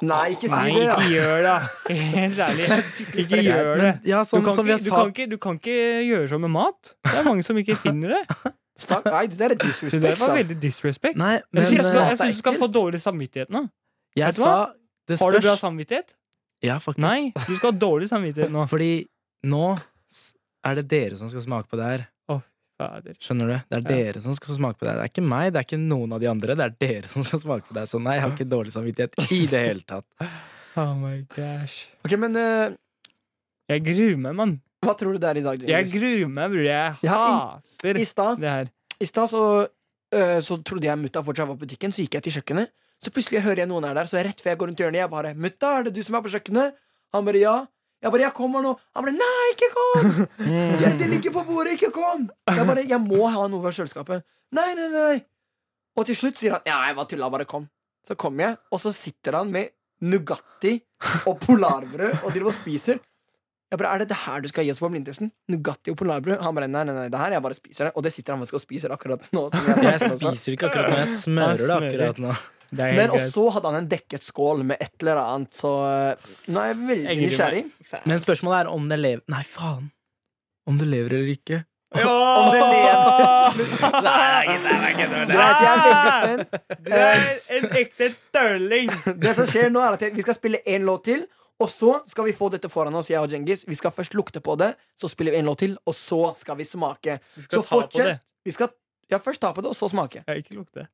Speaker 2: Nei, ikke si
Speaker 3: Nei,
Speaker 2: det, da!
Speaker 3: ikke gjør det! Helt ærlig. Ikke gjør det.
Speaker 4: Men, ja,
Speaker 3: Du
Speaker 4: sånn
Speaker 3: kan,
Speaker 4: som vi
Speaker 3: ikke,
Speaker 4: har
Speaker 3: du, kan
Speaker 4: sagt.
Speaker 3: ikke, du kan ikke gjøre sånn med mat. Det er mange som ikke finner det.
Speaker 2: Stakk- Nei, det der er
Speaker 3: *laughs* Det
Speaker 2: disrespect.
Speaker 3: der var
Speaker 2: ass.
Speaker 3: veldig disrespect.
Speaker 4: Nei,
Speaker 3: Jeg
Speaker 4: men
Speaker 3: synes du skal-
Speaker 4: eh,
Speaker 3: jeg syns du skal få dårlig samvittighet nå.
Speaker 4: jeg
Speaker 3: vet du
Speaker 4: sa,
Speaker 3: hva?
Speaker 4: det
Speaker 3: Har du bra
Speaker 4: spørs.
Speaker 3: samvittighet?
Speaker 4: Ja, faktisk.
Speaker 3: Nei, *laughs* du skal ha dårlig samvittighet nå.
Speaker 4: Fordi nå s- er det dere som skal smake på det her.
Speaker 3: Fader.
Speaker 4: Skjønner du? Det er dere som skal smake på det her. Det er ikke meg, det er ikke noen av de andre. Det er dere som skal smake på det her. Så nei, jeg har ikke dårlig samvittighet i det hele tatt.
Speaker 3: Oh my gosh.
Speaker 2: Ok, men eh,
Speaker 3: Jeg gruer meg, mann.
Speaker 2: hva tror du det er i dag,
Speaker 3: Jeg
Speaker 2: Djengis?
Speaker 3: gruer meg, bror. Jeg
Speaker 2: Ja,
Speaker 3: hater
Speaker 2: I stad
Speaker 3: det her.
Speaker 2: I stad så, øh, så trodde jeg mutta fortsatt var på butikken, så gikk jeg til kjøkkenet. Så plutselig hører jeg noen er der, så rett før jeg går rundt hjørnet, jeg bare 'Mutta, er det du som er på kjøkkenet?' Han bare ja. Jeg bare 'jeg kommer nå'. Han bare 'nei, ikke kom'! Jeg, det ligger på bordet, ikke kom! Jeg bare 'jeg må ha noe fra kjøleskapet'. Nei, nei, nei. Og til slutt sier han 'ja, jeg var tulla, bare kom'. Så kommer jeg, og så sitter han med Nugatti og polarbrød og driver og spiser. Jeg bare, Er det det her du skal gi oss på blindtesten? Nugatti og polarbrød? Han bare, nei, nei, nei, det her jeg bare spiser det. Og det sitter han faktisk og spiser akkurat nå. som
Speaker 4: *laughs*
Speaker 2: jeg
Speaker 4: Jeg
Speaker 2: snakker også.
Speaker 4: spiser ikke akkurat nå, jeg smører det
Speaker 3: Jeg smører.
Speaker 4: akkurat nå.
Speaker 3: Det er
Speaker 2: Men
Speaker 3: helt greit.
Speaker 2: også hadde han en dekket skål med et eller annet, så eh, nå er jeg veldig
Speaker 3: Jeg gruer
Speaker 2: nysgjerrig.
Speaker 3: meg.
Speaker 4: Men spørsmålet er om det lever Nei, faen. Om det lever eller ikke.
Speaker 3: Om det lever
Speaker 2: Du vet, jeg er veldig spent.
Speaker 3: Du er en ekte tølling!
Speaker 2: Det som skjer nå, er at jeg- vi skal spille én låt til. Og så skal vi få dette foran oss, jeg og Djengis. Vi skal først lukte på det, så spiller vi en låt til, og så skal vi smake.
Speaker 3: skal
Speaker 2: så
Speaker 3: ta på det.
Speaker 2: Vi skal ja, først ta på det, og så smake.
Speaker 3: Jeg ikke lukte.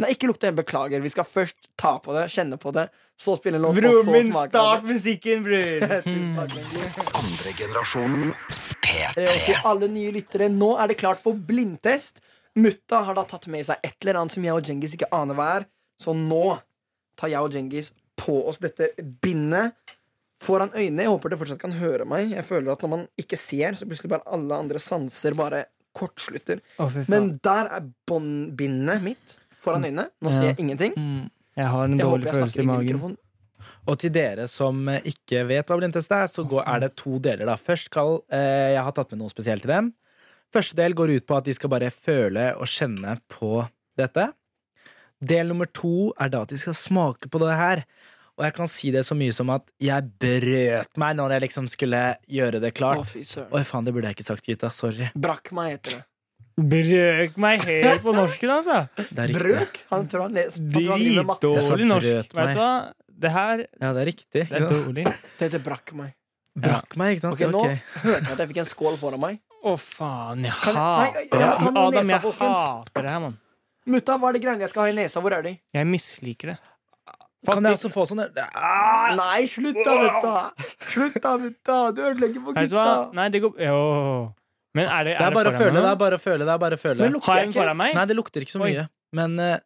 Speaker 2: Nei, ikke lukte, beklager. Vi skal først ta på det, kjenne på det, så spille en låt, og
Speaker 3: Bror
Speaker 2: så
Speaker 3: min,
Speaker 2: smake. av
Speaker 3: start musikken, *laughs* bror!
Speaker 2: det. *laughs* Tusen takk, Djengis.
Speaker 1: Andre generasjonen
Speaker 2: Eh, Og
Speaker 1: P3.
Speaker 2: til alle nye lyttere, nå er det klart for blindtest. Mutta har da tatt med seg et eller annet som jeg og Djengis ikke aner hva er. Så nå tar jeg og Djengis på oss dette bindet foran øynene. Jeg håper dere fortsatt kan høre meg. Jeg føler at når man ikke ser, så plutselig bare alle andre sanser bare kortslutter. Men der er bånd- bindet mitt foran øynene. Nå ser jeg ingenting.
Speaker 3: Mm. jeg har en
Speaker 2: Jeg håper
Speaker 3: dårlig
Speaker 2: jeg
Speaker 3: følelse
Speaker 2: snakker
Speaker 3: i
Speaker 2: inn i
Speaker 3: magen.
Speaker 2: mikrofonen.
Speaker 4: Og til dere som eh, ikke vet hva blindtest er, så går, er det to deler. da Først skal eh, Jeg har tatt med noe spesielt til dem. Første del går ut på at de skal bare føle og kjenne på dette. Del nummer to er da at de skal smake på det her. Og jeg kan si det så mye som at jeg brøt meg når jeg liksom skulle gjøre det
Speaker 2: Å,
Speaker 4: klart.
Speaker 2: fy søren.
Speaker 4: Oi, faen, det burde jeg ikke sagt, gutta. Sorry.
Speaker 2: Brakk meg heter det.
Speaker 3: Brøk meg helt på norsken, altså!
Speaker 4: Det er riktig.
Speaker 2: Brøk? Han tror han les- han tror han driver med matte.
Speaker 4: Jeg sa
Speaker 3: Dritdårlig norsk.
Speaker 4: brøt meg.
Speaker 3: Vet du hva? Det her
Speaker 4: Ja, det er riktig.
Speaker 3: det er dårlig.
Speaker 2: Det heter brakk meg.
Speaker 4: Brakk meg, ikke sant?
Speaker 2: Ok, nå
Speaker 4: Ok.
Speaker 2: *laughs* hørte jeg at jeg fikk en skål foran meg.
Speaker 3: Å, faen. Jeg
Speaker 2: Kan jeg- Nei, jeg- jeg må ta
Speaker 3: hater
Speaker 2: den med nesa,
Speaker 3: Adam, jeg
Speaker 2: folkens.
Speaker 3: hater det her, mann.
Speaker 2: Mutta, hva er det greiene jeg skal ha i nesa? Hvor er de?
Speaker 3: Jeg misliker det.
Speaker 4: Kan jeg også få sånn ah!
Speaker 2: Nei, slutt da, mutta! Slutt da, mutta! Du ødelegger for
Speaker 3: Vet du hva?
Speaker 2: gutta.
Speaker 3: Nei, det går Jo. Men er det,
Speaker 4: Det er bare å
Speaker 3: foran
Speaker 4: føle,
Speaker 3: meg nå?
Speaker 4: det er bare å føle. det er bare å føle
Speaker 2: Men lukter
Speaker 3: Har
Speaker 2: jeg
Speaker 3: jeg den
Speaker 2: ikke?
Speaker 3: foran meg?
Speaker 4: Nei, det lukter ikke så
Speaker 3: Oi.
Speaker 4: mye, men eh,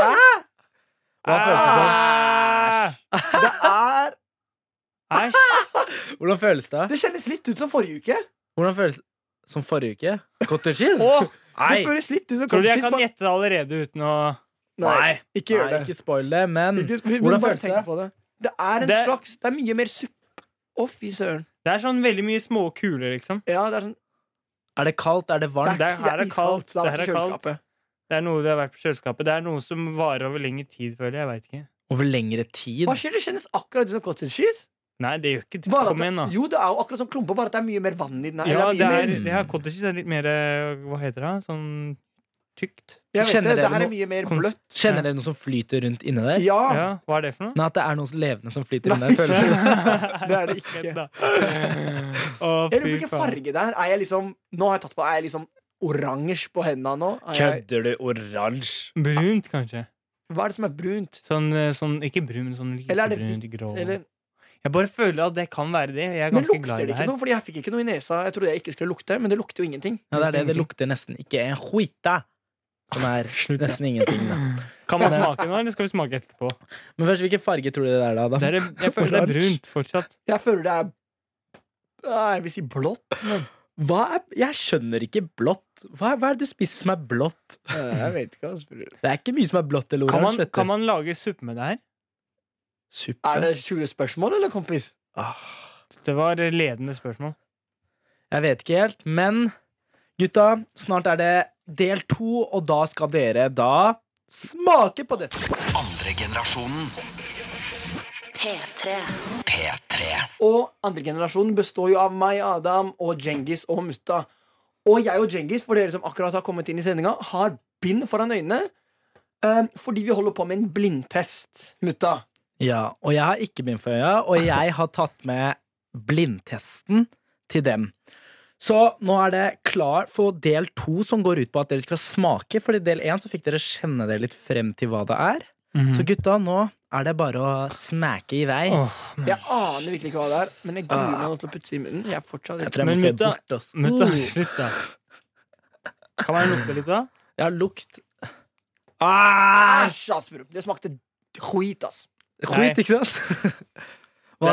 Speaker 3: Hva føles det som?
Speaker 2: Det er
Speaker 3: Æsj!
Speaker 4: Hvordan føles det?
Speaker 2: Det kjennes litt ut som forrige uke.
Speaker 4: Hvordan føles Som forrige uke? Cottage cheese?
Speaker 3: Å,
Speaker 2: Det
Speaker 4: Nei,
Speaker 2: føles litt ut som
Speaker 3: tror du jeg
Speaker 2: kanskje-
Speaker 3: kan gjette det allerede uten å
Speaker 2: Nei,
Speaker 3: Nei.
Speaker 2: ikke sånn. gjør
Speaker 4: Nei
Speaker 2: det.
Speaker 4: ikke spoil det, men
Speaker 2: Ikke- vi- vi
Speaker 4: Hvordan
Speaker 2: må bare
Speaker 4: føles
Speaker 2: tenke
Speaker 4: det?
Speaker 2: på det? Det er en
Speaker 3: Det-
Speaker 2: slags Det er mye mer suppe. Å, fy søren.
Speaker 3: Det er sånn veldig mye små kuler, liksom.
Speaker 2: Ja, det er sånn
Speaker 4: er det kaldt? Er det varmt?
Speaker 3: Det er- her er kaldt,
Speaker 2: Det er
Speaker 3: det her
Speaker 2: ikke
Speaker 3: er kaldt.
Speaker 2: kjøleskapet.
Speaker 3: Det er noe det har vært på kjøleskapet. Det er noe som varer over lengre tid, føler jeg. Jeg vet ikke.
Speaker 4: Over lengre tid?
Speaker 2: Hva skjer? Det kjennes akkurat ut som cottage cheese.
Speaker 3: Nei, det gjør ikke det.
Speaker 2: Bare at
Speaker 3: Kom
Speaker 2: det-
Speaker 3: igjen, nå.
Speaker 2: Jo, det er jo akkurat som klumper, bare at det er mye mer vann i den. her.
Speaker 3: Ja,
Speaker 2: Eller
Speaker 3: det
Speaker 2: mye
Speaker 3: er,
Speaker 2: mer-
Speaker 3: det er cottage cheese. Det er litt mer eh, Hva heter det? Sånn tykt?
Speaker 2: Jeg vet det,
Speaker 4: Kjenner
Speaker 2: det
Speaker 4: dere
Speaker 2: her er
Speaker 4: noe
Speaker 2: mye mer
Speaker 3: konst-
Speaker 2: bløtt.
Speaker 4: Kjenner dere noe som flyter rundt inni der?
Speaker 2: Ja,
Speaker 3: Ja, hva er det for *laughs* noe?
Speaker 4: Nei, at det er noe levende som flyter inni der? føler jeg.
Speaker 2: det er det ikke.
Speaker 3: Vent da. Å,
Speaker 2: Jeg
Speaker 3: fy
Speaker 2: lurer på hvilken
Speaker 3: faen.
Speaker 2: farge det er. Er jeg liksom Nå har jeg tatt på Er jeg liksom oransje på hendene nå? Er jeg,
Speaker 4: Kødder du? Oransje?
Speaker 3: Brunt, kanskje.
Speaker 2: hva er det som er brunt?
Speaker 3: Sånn, eh, sånn ikke brun, men sånn
Speaker 2: Eller er det
Speaker 3: lysebrunt, grå.
Speaker 2: Eller,
Speaker 3: Jeg bare føler at det kan være det. Jeg er
Speaker 2: men
Speaker 3: ganske
Speaker 2: lukter
Speaker 3: glad i
Speaker 2: det
Speaker 3: det
Speaker 2: ikke
Speaker 3: her.
Speaker 2: noe? Fordi jeg fikk ikke noe i nesa. Jeg trodde jeg ikke skulle lukte, men det lukter jo ingenting.
Speaker 4: Ja, det er det. Det lukter nesten ikke en skita. Som
Speaker 3: *laughs*
Speaker 4: er nesten ingenting, da.
Speaker 3: Kan man smake nå, eller skal vi smake etterpå?
Speaker 4: Men først, hvilken farge tror du det er, da?
Speaker 3: Det
Speaker 4: Adam?
Speaker 3: er, jeg føler det er
Speaker 4: Oransje.
Speaker 3: brunt fortsatt.
Speaker 2: Jeg føler det er Nei, Jeg vil si blått, men
Speaker 4: Hva er Jeg skjønner ikke blått. Hva er, hva er det du spiser som er blått?
Speaker 2: eh, Jeg vet ikke. altså.
Speaker 4: Det er ikke mye som er blått eller
Speaker 3: Kan man,
Speaker 4: oransje. vet du.
Speaker 3: kan man lage suppe med det her?
Speaker 4: Suppe?
Speaker 2: Er det 20 spørsmål, eller, kompis?
Speaker 4: Ah,
Speaker 3: Det var eh, ledende spørsmål.
Speaker 4: jeg vet ikke helt, men gutta, snart er det del to, og da skal dere da smake på dette.
Speaker 1: Andre generasjonen
Speaker 5: P3.
Speaker 1: P3.
Speaker 2: Og andregenerasjonen består jo av meg, Adam, og Djengis og Mutta. Og jeg og Djengis, for dere som akkurat har kommet inn i sendinga, har bind foran øynene. eh, fordi vi holder på med en blindtest, Mutta.
Speaker 4: Ja, og jeg har ikke bind for øya, og jeg har tatt med blindtesten til dem. Så nå er det klar for del to, som går ut på at dere skal smake. For i del én så fikk dere kjenne dere litt frem til hva det er. Så gutta, nå er det bare å smake i vei.
Speaker 3: Mm. Åh,
Speaker 2: Jeg aner virkelig ikke hva det er, men jeg gruer meg nå til å putte det i munnen. Jeg er fortsatt
Speaker 4: Ah.
Speaker 2: ikke
Speaker 4: Jeg tror jeg
Speaker 3: Men
Speaker 4: må se
Speaker 3: mutta-
Speaker 4: bort, ass.
Speaker 3: Mutta,
Speaker 4: Uh.
Speaker 3: slutt, da. Kan man lukte litt, da?
Speaker 4: Ja, lukt. Ah!
Speaker 2: Æsj, ass, bro. Det smakte skit, ass.
Speaker 3: Nei.
Speaker 4: Skit, ikke sant? *laughs* Hva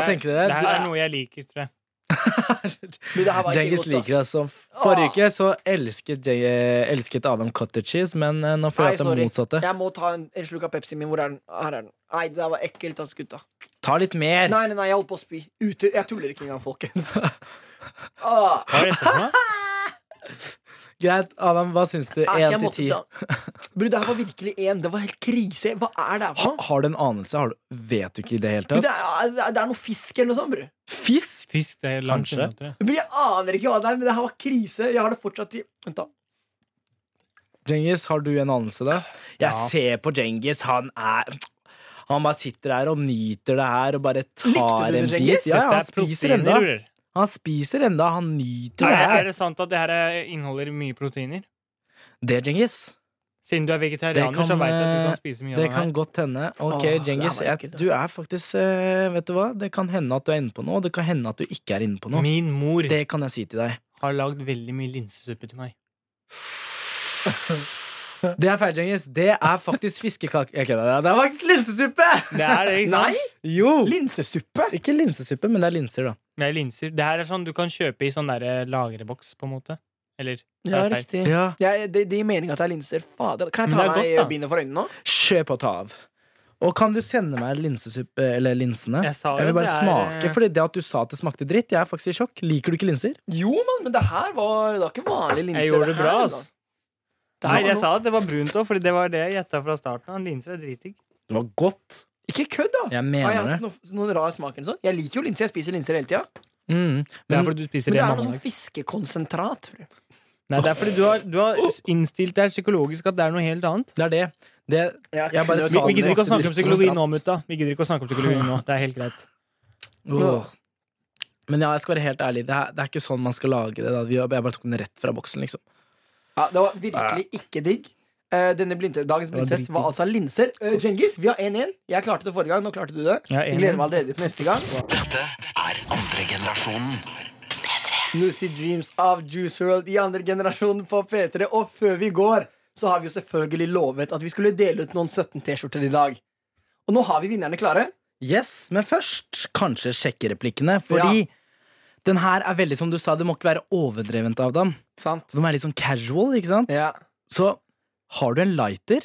Speaker 3: Det er-
Speaker 4: tenker dere?
Speaker 3: Det her er noe jeg liker, tror jeg.
Speaker 2: Men det her var ikke
Speaker 4: Djengis
Speaker 2: godt, ass.
Speaker 4: liker det som Forrige uke så elsket, Djeng- elsket Adam cottage cheese, men eh, nå
Speaker 2: Nei,
Speaker 4: føler jeg at det
Speaker 2: sorry.
Speaker 4: er motsatte.
Speaker 2: Jeg må ta en, en slurk av Pepsi min. Hvor er den? Her er den. Nei, det der var ekkelt, ass, gutta.
Speaker 4: Ta litt mer.
Speaker 2: Nei, nei, nei, jeg holdt på å spy. Ute. Jeg tuller ikke engang,
Speaker 4: *laughs*
Speaker 2: folkens. Ah,
Speaker 3: Hva er dette for noe?
Speaker 4: Greit, Adam, hva syns du?
Speaker 2: æsj, jeg
Speaker 4: Én til
Speaker 2: måtte
Speaker 4: ti.
Speaker 2: ta Bro, det her var virkelig én. Det var helt krise. Hva er det her for noe?
Speaker 4: Har du en anelse? Har du, vet du ikke i det hele
Speaker 2: Bro, Det
Speaker 4: tatt?
Speaker 2: er, det er- det er noe fisk eller noe sånt, bro.
Speaker 4: Fisk?
Speaker 3: Fisk, det er langt
Speaker 4: Kanskje.
Speaker 3: unna, tror jeg.
Speaker 2: Bro, jeg aner ikke hva det er, men det her var krise. Jeg har det fortsatt i Vent, da.
Speaker 4: Djengis, har du en anelse da? Jeg
Speaker 3: Ja.
Speaker 4: ser på Djengis, han er Han bare sitter her og nyter det her og bare tar
Speaker 2: Likte du det,
Speaker 4: en
Speaker 2: Djengis?
Speaker 4: bit. Ja,
Speaker 3: Det
Speaker 4: han
Speaker 3: er
Speaker 4: spiser enda.
Speaker 3: proteiner. bror.
Speaker 4: Han spiser enda, han nyter
Speaker 3: Er,
Speaker 4: det
Speaker 3: er
Speaker 4: her.
Speaker 3: det sant at det her eh, inneholder mye proteiner?
Speaker 4: Det, Djengis,
Speaker 3: Siden du er vegetarianer,
Speaker 4: Det kan,
Speaker 3: så veit jeg at du
Speaker 4: eh,
Speaker 3: kan spise mye
Speaker 4: det
Speaker 3: av
Speaker 4: kan
Speaker 3: det.
Speaker 4: godt hende.
Speaker 2: Åh,
Speaker 4: Ok,
Speaker 2: det er
Speaker 4: Djengis,
Speaker 2: bare
Speaker 4: jeg-
Speaker 2: ekkelt, da.
Speaker 4: du er faktisk eh, Vet du hva? Det kan hende at du er inne på noe, og det kan hende at du ikke er inne på
Speaker 3: her.
Speaker 4: noe.
Speaker 3: Min mor
Speaker 4: Det kan jeg si til deg.
Speaker 3: har lagd veldig mye linsesuppe til meg.
Speaker 4: *laughs* Det er feil, Djengis. Det er faktisk fiskekake Jeg kødder. Det er faktisk linsesuppe!
Speaker 3: *laughs* Det er det, ikke
Speaker 2: Nei!
Speaker 3: sant?
Speaker 4: Jo!
Speaker 2: Linsesuppe?
Speaker 4: Ikke linsesuppe, men det er linser, da.
Speaker 3: Med linser. Det her er sånn du kan kjøpe i sånn derre lagreboks, på en måte. Eller
Speaker 2: Ja,
Speaker 3: Det er feil.
Speaker 2: riktig.
Speaker 4: Ja.
Speaker 2: Jeg, det, det gir mening at det er linser. Fader. Kan jeg ta
Speaker 3: Men det er
Speaker 2: meg
Speaker 3: godt, da.
Speaker 2: bindet for øynene nå?
Speaker 4: Kjøp og ta av. Og kan du sende meg linsesuppe, eller linsene?
Speaker 3: Jeg sa
Speaker 4: Jeg
Speaker 3: jo
Speaker 4: vil bare
Speaker 3: det er,
Speaker 4: smake,
Speaker 3: eh,
Speaker 4: fordi det at du sa at det smakte dritt, jeg er faktisk i sjokk. Liker du ikke linser?
Speaker 2: Jo, mann, men det her var Det var ikke vanlige linser.
Speaker 3: Jeg gjorde det
Speaker 2: her,
Speaker 3: bra,
Speaker 2: da.
Speaker 3: ass.
Speaker 2: Det her
Speaker 3: Nei,
Speaker 2: var
Speaker 3: jeg
Speaker 2: noe-
Speaker 3: sa at det var brunt òg, Fordi det var det jeg gjetta fra starten av. Linser er dritdigg.
Speaker 4: Det var godt.
Speaker 2: Ikke kødd, da! Har
Speaker 4: Jeg
Speaker 2: jeg
Speaker 4: mener
Speaker 2: hatt
Speaker 4: det.
Speaker 2: noe, noen rar smak eller sånn? Jeg liker jo linser. Jeg spiser linser hele tida.
Speaker 4: Mm.
Speaker 3: Det
Speaker 4: Men
Speaker 3: er fordi du
Speaker 2: Men
Speaker 3: spiser
Speaker 2: det
Speaker 3: det
Speaker 2: er
Speaker 3: mamma
Speaker 2: noe sånn
Speaker 3: lager.
Speaker 2: fiskekonsentrat. tror jeg.
Speaker 3: Nei, det er fordi du har, du har innstilt deg psykologisk at det er noe helt annet.
Speaker 4: det er det. det Jeg bare
Speaker 2: kunne
Speaker 3: Vi,
Speaker 2: sagt
Speaker 3: vi gidder
Speaker 4: sa
Speaker 3: ikke å
Speaker 2: det.
Speaker 3: snakke om psykologi nå, mutta. Vi gidder ikke å snakke om psykologi nå. Det er helt greit.
Speaker 4: Åh. Men ja, jeg skal være helt ærlig, det er, det er ikke sånn man skal lage det. Da. Vi- Jeg bare tok den rett fra boksen, liksom.
Speaker 2: Ja, det var virkelig ikke digg. Eh, denne blindte, dagens
Speaker 3: var
Speaker 2: blindtest var altså linser. Uh, Djengis, vi har 1-1. Jeg klarte det forrige gang. Nå klarte du det.
Speaker 3: Ja,
Speaker 2: Jeg
Speaker 3: 1-1.
Speaker 2: gleder meg allerede til neste gang.
Speaker 1: Dette er andre generasjonen.
Speaker 2: Lucy Dreams av Juice World i andre generasjon på P3. Og før vi går, så har vi jo selvfølgelig lovet at vi skulle dele ut noen 17 T-skjorter i dag. Og nå har vi vinnerne klare.
Speaker 4: Yes, Men først kanskje sjekke replikkene, fordi den her er veldig som du sa, det må ikke være overdrevent av dem.
Speaker 2: Sant?
Speaker 4: De er litt sånn casual, ikke sant?
Speaker 2: Ja.
Speaker 4: Så har du en lighter,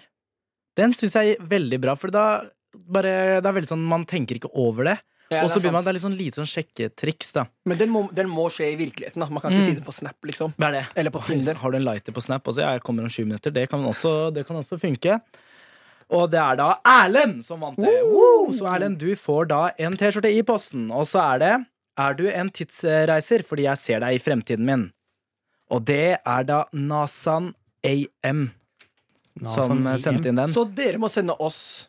Speaker 4: den syns jeg er veldig bra, for da bare, det er veldig sånn, man tenker ikke over det.
Speaker 2: Ja,
Speaker 4: og så
Speaker 2: det er
Speaker 4: begynner man,
Speaker 2: sant.
Speaker 4: det er litt sånn lite sånn sjekketriks, da.
Speaker 2: Men den må, den må skje i virkeligheten. Da. Man kan ikke
Speaker 4: Mm.
Speaker 2: si det på Snap, liksom.
Speaker 4: Det er det.
Speaker 2: Eller på Tinder.
Speaker 4: Har du en lighter på Snap? Altså, jeg kommer om 20 minutter. Det kan også, det kan også funke. Og det er da Erlend som vant det. Woo! Så Erlend, du får da en T-skjorte i posten. Og så er det Er du en tidsreiser fordi jeg ser deg i fremtiden min? Og det er da Nasan AM som
Speaker 3: sånn
Speaker 4: eh, sendte inn den.
Speaker 2: Så dere må sende oss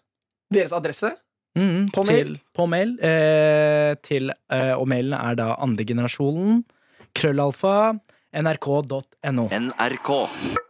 Speaker 2: deres adresse.
Speaker 4: Mm,
Speaker 2: på
Speaker 4: til,
Speaker 2: mail?
Speaker 4: På mail. Eh, til, eh, og mailen er da andregenerasjonen. Krøllalfa. NRK.no.
Speaker 1: NRK.